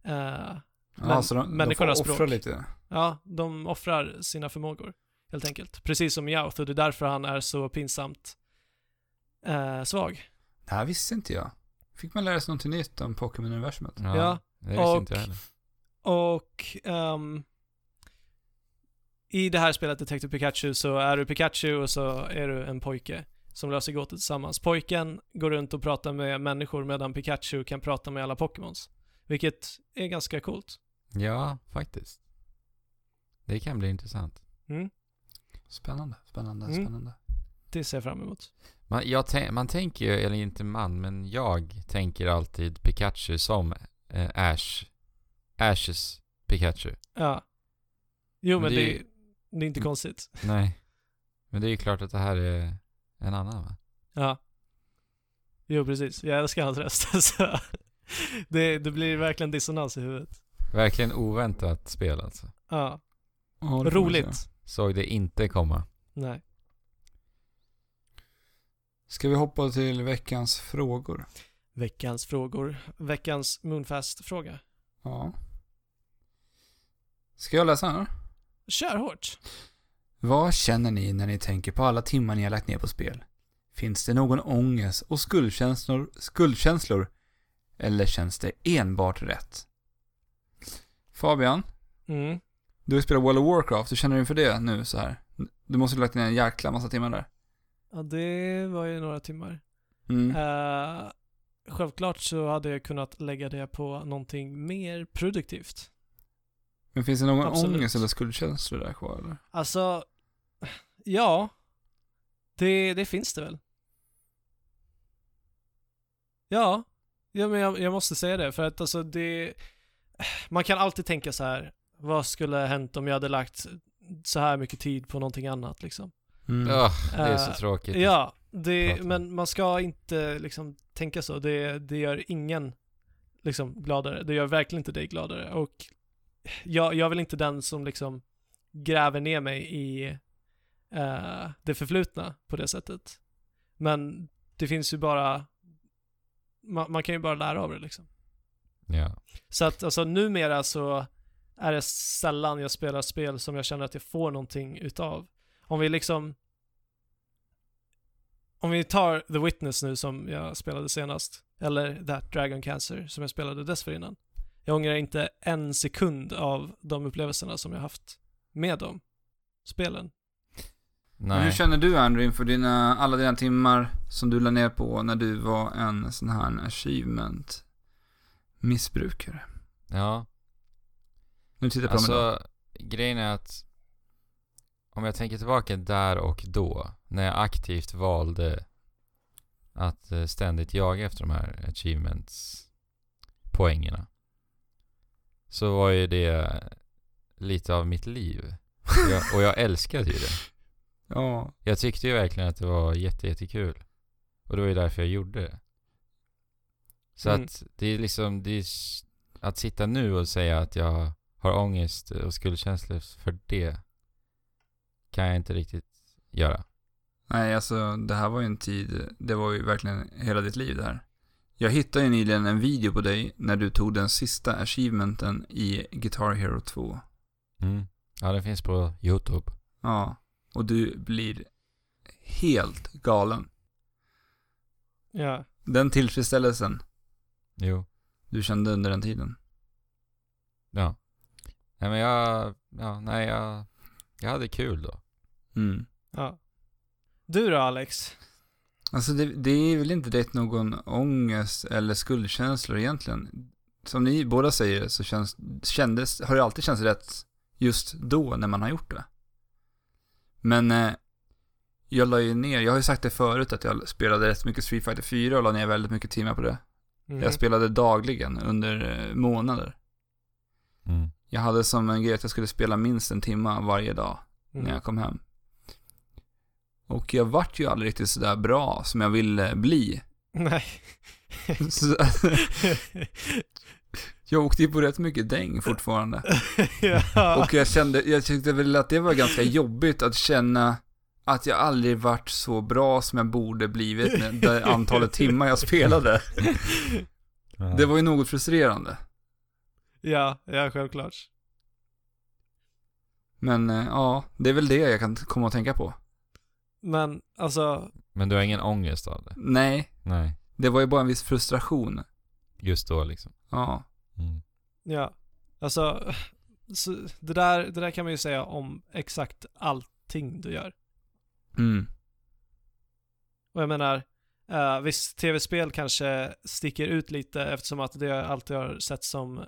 S2: eh,
S1: Ja,
S2: Men-
S1: så de, de får
S2: människornas
S1: offra
S2: språk.
S1: lite.
S2: ja, de offrar sina förmågor helt enkelt. Precis som Meowth och det är därför han är så pinsamt eh, svag.
S1: Det här visste inte jag. Fick man lära sig någonting nytt om Pokémon-universumet?
S2: Ja,
S3: Det visste
S2: och-
S3: inte jag heller.
S2: Och ehm, i det här spelet Detective Pikachu så är du Pikachu och så är du en pojke som löser gåtor tillsammans. Pojken går runt och pratar med människor medan Pikachu kan prata med alla Pokémons. Vilket är ganska coolt.
S3: Ja, faktiskt. Det kan bli intressant.
S1: Spännande, spännande,
S2: Mm.
S1: spännande.
S2: Det ser jag fram emot.
S3: Man, jag tän- man tänker ju, eller inte man, men jag tänker alltid Pikachu som eh, Ash. Ashes Pikachu.
S2: Ja. Jo men,
S3: Men
S2: det,
S3: det
S2: det,
S3: är-
S2: är, inte
S3: Mm.
S2: konstigt.
S3: Nej. Men det är ju klart att det här är en annan va?
S2: Ja. Jo precis, jag älskar hans röst. så det, det blir verkligen dissonans i huvudet.
S3: Verkligen oväntat spel alltså.
S2: Ja.
S1: Ja, det får vi se.
S2: Roligt.
S3: Såg det inte komma.
S2: Nej.
S1: Ska vi hoppa till veckans frågor?
S2: Veckans frågor. Veckans Moonfast-fråga.
S1: Ja. Ska jag läsa den?
S2: Kör hårt.
S1: Vad känner ni när ni tänker på alla timmar ni har lagt ner på spel? Finns det någon ångest och skuldkänslor, skuldkänslor? Eller känns det enbart rätt? Fabian,
S2: Mm.
S1: du har ju spelat World of Warcraft, hur känner du inför det nu så här? Du måste ha lagt ner en jäkla massa timmar där.
S2: Ja, det var ju några timmar.
S1: Mm.
S2: Eh, självklart så hade jag kunnat lägga det på någonting mer produktivt.
S1: Men finns det någon
S2: absolut.
S1: ångest eller skuldkänslor där kvar eller?
S2: Alltså, ja. Det, det finns det väl. Ja. Ja, men jag, jag måste säga det, för att alltså det... Man kan alltid tänka så här, vad skulle ha hänt om jag hade lagt så här mycket tid på någonting annat liksom?
S1: Mm.
S3: Ugh, det är så
S2: Eh,
S3: tråkigt.
S2: Ja, det,
S3: prata om.
S2: men man ska inte liksom tänka så. Det, det gör ingen liksom gladare. Det gör verkligen inte dig gladare. Och jag, jag vill inte den som liksom gräver ner mig i eh, det förflutna på det sättet. Men det finns ju bara, man, man kan ju bara lära av det liksom.
S3: Ja.
S2: Så att alltså numera så är det sällan jag spelar spel som jag känner att jag får någonting utav. Om vi liksom om vi tar The Witness nu som jag spelade senast, eller That Dragon Cancer som jag spelade dessförinnan. Jag ångrar inte en sekund av de upplevelserna som jag haft med de spelen.
S1: Men hur
S3: Nej.
S1: känner du Andrew inför dina, alla dina timmar som du la ner på när du var en sån här achievement-missbrukare?
S3: Ja.
S1: Nu tittar jag på mig.
S3: Alltså, grejen är att om jag tänker tillbaka där och då, när jag aktivt valde att eh, ständigt jaga efter de här achievements-poängerna, så var ju det lite av mitt liv. Och jag, och jag älskade ju det.
S1: Ja,
S3: Jag tyckte ju verkligen att det var jätte, jättekul. Och det var ju därför jag gjorde det. Så
S2: Mm.
S3: att det är liksom, det är, s- att sitta nu och säga att jag har ångest och skuldkänslor för det kan jag inte riktigt göra.
S1: nej alltså det här var ju en tid, det var ju verkligen hela ditt liv det här. Jag hittade ju nyligen en video på dig när du tog den sista achievementen i Guitar Hero 2.
S3: Mm. Ja, den finns på YouTube.
S1: Ja, och du blir helt galen.
S2: Ja.
S1: Den tillfredsställelsen
S3: Jo.
S1: du kände under den tiden.
S3: Ja. Nej men jag, ja, nej jag, jag hade kul då.
S1: Mm.
S2: ja. Du då Alex?
S1: Alltså det, det är väl inte direkt någon ångest eller skuldkänslor egentligen. som ni båda säger så känns, kändes, har det alltid känts rätt just då när man har gjort det. Men eh, jag la ju ner, jag har ju sagt det förut att jag spelade rätt mycket Street Fighter 4 och la ner väldigt mycket timmar på det.
S2: Mm.
S1: Jag spelade dagligen under eh, månader.
S3: Mm.
S1: Jag hade som en grej att jag skulle spela minst en timme varje dag
S2: Mm.
S1: när jag kom hem. Och jag vart ju aldrig riktigt sådär bra som jag ville bli.
S2: Nej.
S1: Så, jag åkte ju på rätt mycket däng fortfarande.
S2: ja.
S1: Och jag kände, jag tyckte väl att det var ganska jobbigt att känna att jag aldrig varit så bra som jag borde blivit med det antalet timmar jag spelade. Det var ju något frustrerande.
S2: ja, ja, självklart.
S1: Men eh, ja, det är väl det jag kan komma att tänka på.
S2: Men alltså,
S3: Men du har ingen ångest av det?
S1: Nej,
S3: Nej.
S1: det var ju bara en viss frustration.
S3: Just då liksom.
S1: Ja,
S3: Mm.
S2: ja. Alltså, så det, där, det där kan man ju säga om exakt allting du gör.
S1: mm.
S2: Och jag menar, eh, visst, tv-spel kanske sticker ut lite eftersom att det alltid har sett som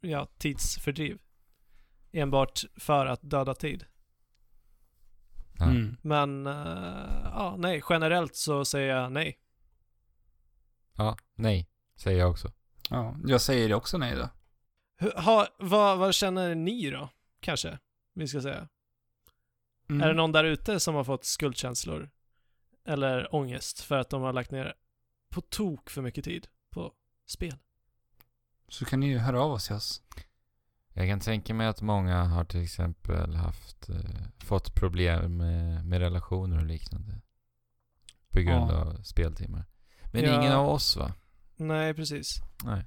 S2: ja, tidsfördriv. Enbart för att döda tid.
S3: Ja.
S1: Mm.
S2: Men, eh, ja, nej, generellt så säger jag nej.
S3: Ja, nej. Säger jag också.
S1: ja, jag säger det också nej då.
S2: Hur- Ha, vad, vad känner ni då, kanske? Vi ska säga.
S1: Mm.
S2: Är det någon där ute som har fått skuldkänslor? Eller ångest för att de har lagt ner på tok för mycket tid på spel?
S1: Så kan ni ju höra av oss till oss.
S3: Jag kan tänka mig att många har till exempel haft, eh, fått problem med, med relationer och liknande. På grund
S1: Ja.
S3: av speltimmar. Men
S2: Ja.
S3: ingen av oss va?
S2: Nej, precis.
S3: Nej.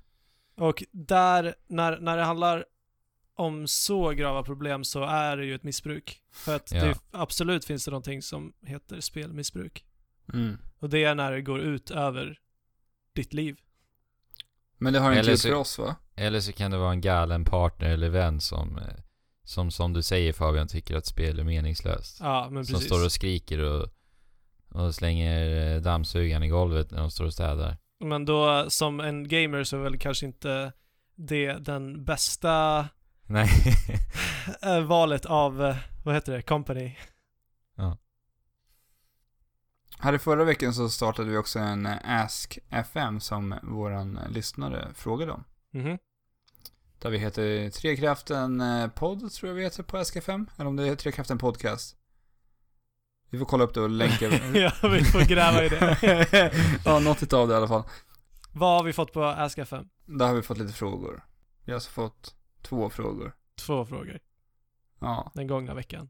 S2: Och där, när, när det handlar om så grava problem så är det ju ett missbruk. För att
S3: Ja.
S2: det, absolut finns det någonting som heter spelmissbruk.
S1: Mm.
S2: Och det är när det går ut över ditt liv.
S1: Men det har inte
S3: Eller
S1: gjort
S3: så-
S1: för oss va?
S3: Eller så kan det vara en galen partner eller vän som, eh, som som du säger Fabian, tycker att spel är meningslöst.
S2: Ja, men
S3: som
S2: precis.
S3: står och skriker och, och slänger eh, dammsugaren i golvet när de står och städar.
S2: Men då, som en gamer så är väl kanske inte det den bästa
S3: Nej.
S2: eh, valet av, eh, vad heter det, company.
S1: Här i förra veckan så startade vi också en eh, Ask FM som våran eh, lyssnare frågade om.
S2: Mhm.
S1: Där vi heter Trekraften eh, podd, tror jag vi heter på Ask FM. Eller om det är Trekraften podcast. Vi får kolla upp det och länka.
S2: ja, vi får gräva i det.
S1: ja, något utav det i alla fall.
S2: Vad har vi fått på Ask FM?
S1: Där har vi fått lite frågor. Vi har alltså fått två frågor.
S2: Två frågor
S1: Ja,
S2: den gångna veckan.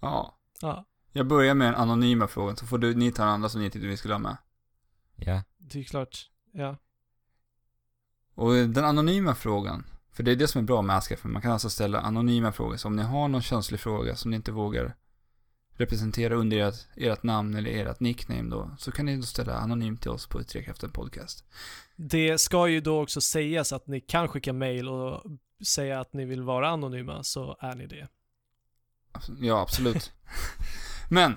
S1: ja.
S2: Ja,
S1: Jag börjar med den anonyma frågan så får du, ni ta den andra som ni tyckte vi skulle ha med.
S3: ja.
S2: det är klart. Ja.
S1: Och den anonyma frågan, för det är det som är bra med Ask FM, man kan alltså ställa anonyma frågor. Så om ni har någon känslig fråga som ni inte vågar representera under ert, ert namn eller ert nickname då, så kan ni då ställa anonymt till oss på Trekraften Podcast.
S2: Det ska ju då också sägas att ni kan skicka mail och säga att ni vill vara anonyma, så är ni det.
S1: Abs- Ja, absolut. Men,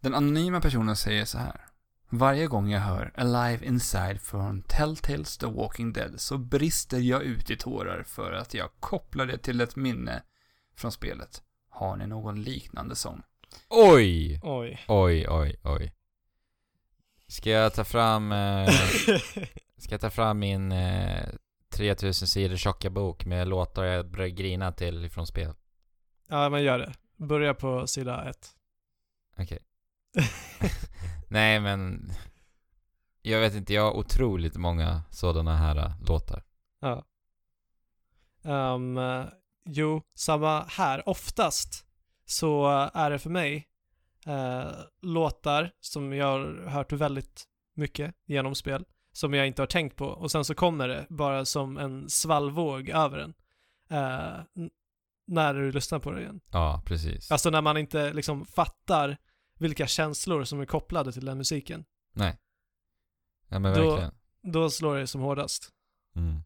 S1: den anonyma personen säger så här. Varje gång jag hör Alive Inside från Telltales The Walking Dead så brister jag ut i tårar för att jag kopplar det till ett minne från spelet. Har ni någon liknande sång?
S3: Oj!
S2: Oj.
S3: Oj, oj, oj. Ska jag ta fram, eh, ska jag ta fram min eh, 3000 sidor tjocka bok med låtar jag börjar grina till från spel?
S2: ja, men gör det. Börja på sida ett.
S3: Okej. Nej men, jag vet inte, jag har otroligt många sådana här eh, låtar.
S2: ja. Ehm, jo, samma här. Oftast så är det för mig eh, låtar som jag har hört väldigt mycket genom spel, som jag inte har tänkt på. Och sen så kommer det bara som en svallvåg över en. eh, n- när du lyssnar på det igen.
S3: Ja, precis.
S2: Alltså när man inte liksom fattar vilka känslor som är kopplade till den musiken.
S3: Ja men
S2: då-
S3: verkligen.
S2: Då slår det som hårdast.
S3: Mm.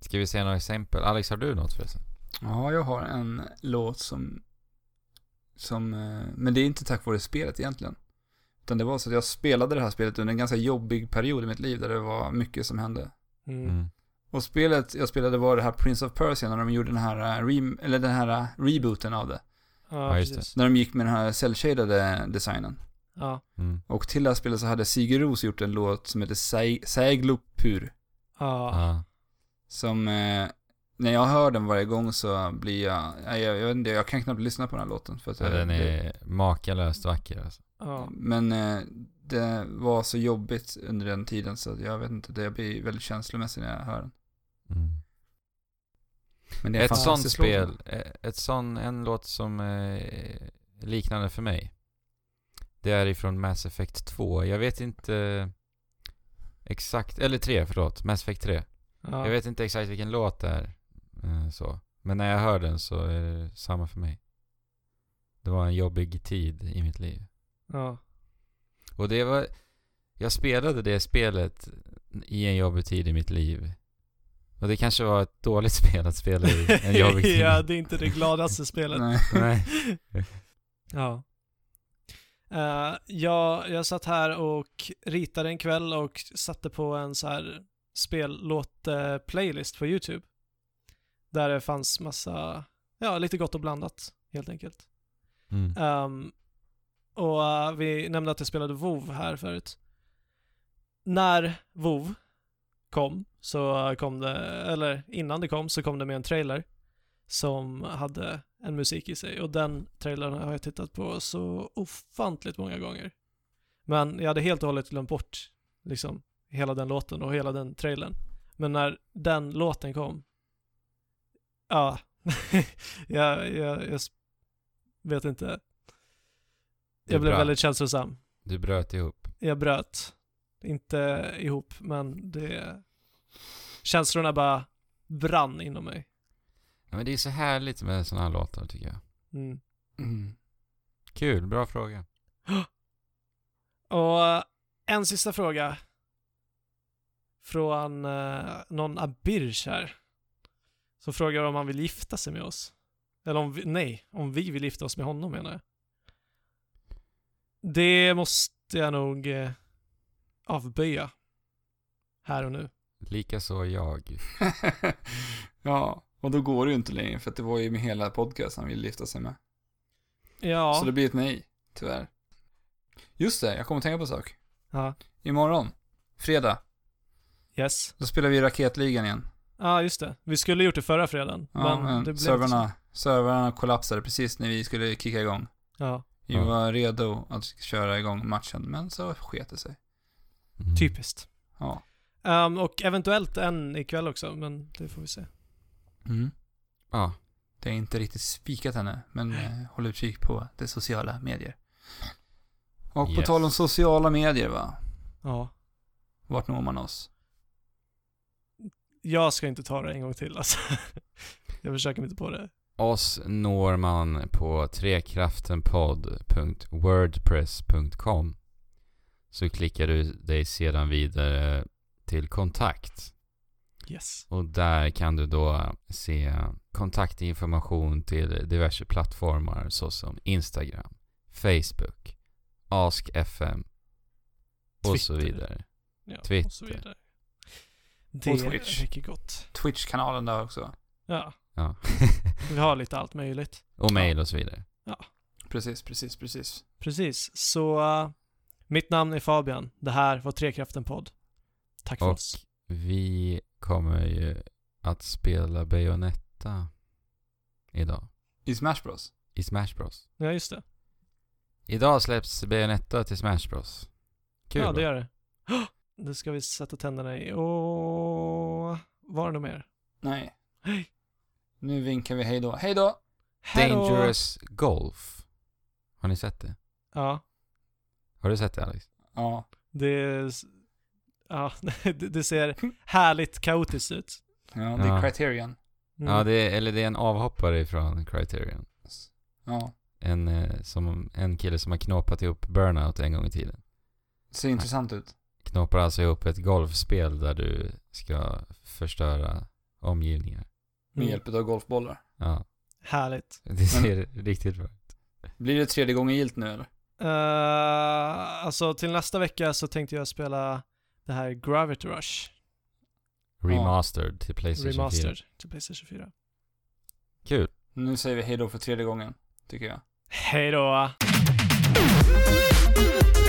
S3: Ska vi se några exempel? Alex, har du något förresten?
S1: Ja, jag har en låt som... Som... eh, Men det är inte tack vare spelet egentligen. Utan det var så att jag spelade det här spelet under en ganska jobbig period i mitt liv där det var mycket som hände.
S2: Mm.
S3: Mm.
S1: Och spelet jag spelade var det här Prince of Persia när de gjorde den här, eh, rem- eller den här eh, rebooten av det.
S2: Ja,
S3: Ja, just det.
S2: precis.
S1: När de gick med den här cell-shaded eh, designen.
S2: Ja.
S3: Mm.
S1: Och till det här spelet så hade Sigur Ros gjort en låt som heter Sai- Saiglopur.
S2: Ja.
S3: Ja.
S1: Som, eh, när jag hör den varje gång så blir jag, jag, jag, jag vet inte, jag kan knappt lyssna på den här låten. För att
S3: ja,
S1: jag,
S3: den
S1: det-
S3: är makalöst vacker alltså.
S2: ja.
S1: Men eh, det var så jobbigt under den tiden så att jag vet inte, det- jag blir väldigt känslomässig när jag hör den.
S3: Mm.
S1: Men det är en
S3: Ett sånt
S1: fantastisk låt.
S3: spel, eh, ett sån, en låt som eh, liknande för mig. Det är ifrån Mass Effect 2. Jag vet inte exakt, eller 3 förlåt, Mass Effect 3.
S2: ja.
S3: Jag vet inte exakt vilken låt det är. Eh, så. Men när jag hör den så är det samma för mig. Det var en jobbig tid i mitt liv.
S2: Ja.
S3: Och det var... Jag spelade det spelet i en jobbig tid i mitt liv. Och det kanske var ett dåligt spel att spela i en jobbig tid.
S2: ja, det är inte det gladaste spelet.
S1: Nej.
S3: Nej.
S2: Ja. Eh, jag, jag satt här och ritade en kväll och satte på en så här spellåt-playlist på YouTube. Där det fanns massa, ja, lite gott och blandat helt enkelt.
S3: Mm.
S2: Ehm, och eh, vi nämnde att jag spelade WoW här förut. När WoW kom, så eh, kom det, eller innan det kom, så kom det med en trailer som hade en musik i sig och den trailern har jag tittat på så ofantligt många gånger. Men jag hade helt och hållet glömt bort liksom hela den låten och hela den trailern. Men när den låten kom, ja, jag, jag, jag s- vet inte.
S3: Det
S2: Jag blev
S3: brann.
S2: väldigt känslosam.
S3: Du bröt ihop.
S2: Jag bröt. Inte ihop, men det... Känslorna bara brann inom mig.
S3: Ja, men det är så härligt med sådana här låtar tycker jag.
S2: Mm.
S1: Mm.
S3: Kul, bra fråga.
S2: Och eh, en sista fråga. Från eh, någon Abirch här. Som frågar om han vill gifta sig med oss. Eller om vi, nej, om vi vill gifta oss med honom menar jag. Det måste jag nog eh, avböja. Här och nu.
S3: Likaså jag.
S1: ja, och då går det ju inte längre för att det var ju med hela podcasten han ville lyfta sig med.
S2: Ja.
S1: Så det blir ett nej, tyvärr. Just det, jag kommer att tänka på en sak.
S2: ja.
S1: Imorgon, fredag,
S2: Yes.
S1: då spelar vi Raketligan igen.
S2: Ja, just det. Vi skulle gjort det förra fredagen.
S1: Ja,
S2: men,
S1: men,
S2: det blev inte
S1: servrarna, servrarna kollapsade precis när vi skulle kicka igång.
S2: så. Ja.
S1: Vi
S3: Ja.
S1: var redo att köra igång matchen, men så sket det sig.
S3: Mm.
S2: Typiskt.
S1: Ja.
S2: Ehm, och eventuellt en ikväll också, men det får vi se.
S1: Mm.
S3: Ja.
S1: Det är inte riktigt spikat ännu, men eh, håll utkik på de sociala medier. Och på
S3: Yes.
S1: tal om sociala medier va,
S2: Ja.
S1: vart når man oss?
S2: Jag ska inte ta det en gång till alltså. Jag försöker mig inte på det.
S3: Oss når man på trekraftenpodd.wordpress.com Så klickar du dig sedan vidare till kontakt.
S2: Yes.
S3: Och där kan du då se kontaktinformation till diverse plattformar såsom Instagram, Facebook, AskFM och så
S2: Twitter.
S3: vidare.
S2: Ja,
S3: Twitter.
S2: Och så vidare. Det
S1: Twitch.
S2: är mycket gott.
S1: Twitch-kanalen där också.
S2: Ja,
S3: Ja.
S2: vi har lite allt möjligt.
S3: och mail och så vidare.
S1: Precis, precis, precis.
S2: Precis, så eh, mitt namn är Fabian. Det här var Trekraften podd. Tack för
S3: Och
S2: oss.
S3: vi kommer ju att spela Bayonetta idag.
S1: I Smash Bros.
S3: I Smash Bros.
S2: Ja, just det.
S3: Idag släpps Bayonetta till Smash Bros. Kul
S2: ja,
S3: va?
S2: det gör det. Åh! Nu ska vi sätta tänderna i och... Var det något mer?
S1: Nej,
S2: Hej!
S1: nu vinkar vi hej då. Hej då!
S2: Hej då!
S3: Dangerous Golf. Har ni sett det?
S2: Ja,
S3: Har du sett det Alex?
S1: Ja,
S2: det är... s- Ja, det det ser härligt kaotiskt ut.
S1: ja det är
S3: Ja.
S1: Criterion.
S2: Mm.
S3: Ja, det är, eller det är en avhoppare ifrån Criterion.
S1: Ja,
S3: En, eh, som, en kille som har knåpat ihop Burnout en gång i tiden.
S1: ser intressant ut.
S3: Knåpar alltså ihop ett golfspel där du ska förstöra omgivningar.
S1: Med
S2: Mm.
S1: hjälp av golfbollar.
S3: Ja,
S2: Härligt.
S3: det ser riktigt bra ut.
S1: Blir det tredje gången gilt nu eller?
S2: Eh, alltså till nästa vecka så tänkte jag spela det här Gravity Rush
S3: Remastered till Playstation 4.
S2: Remastered till Playstation 4.
S3: Kul.
S1: Nu säger vi hejdå för tredje gången, tycker jag.
S2: Hej då!
S4: Thank you.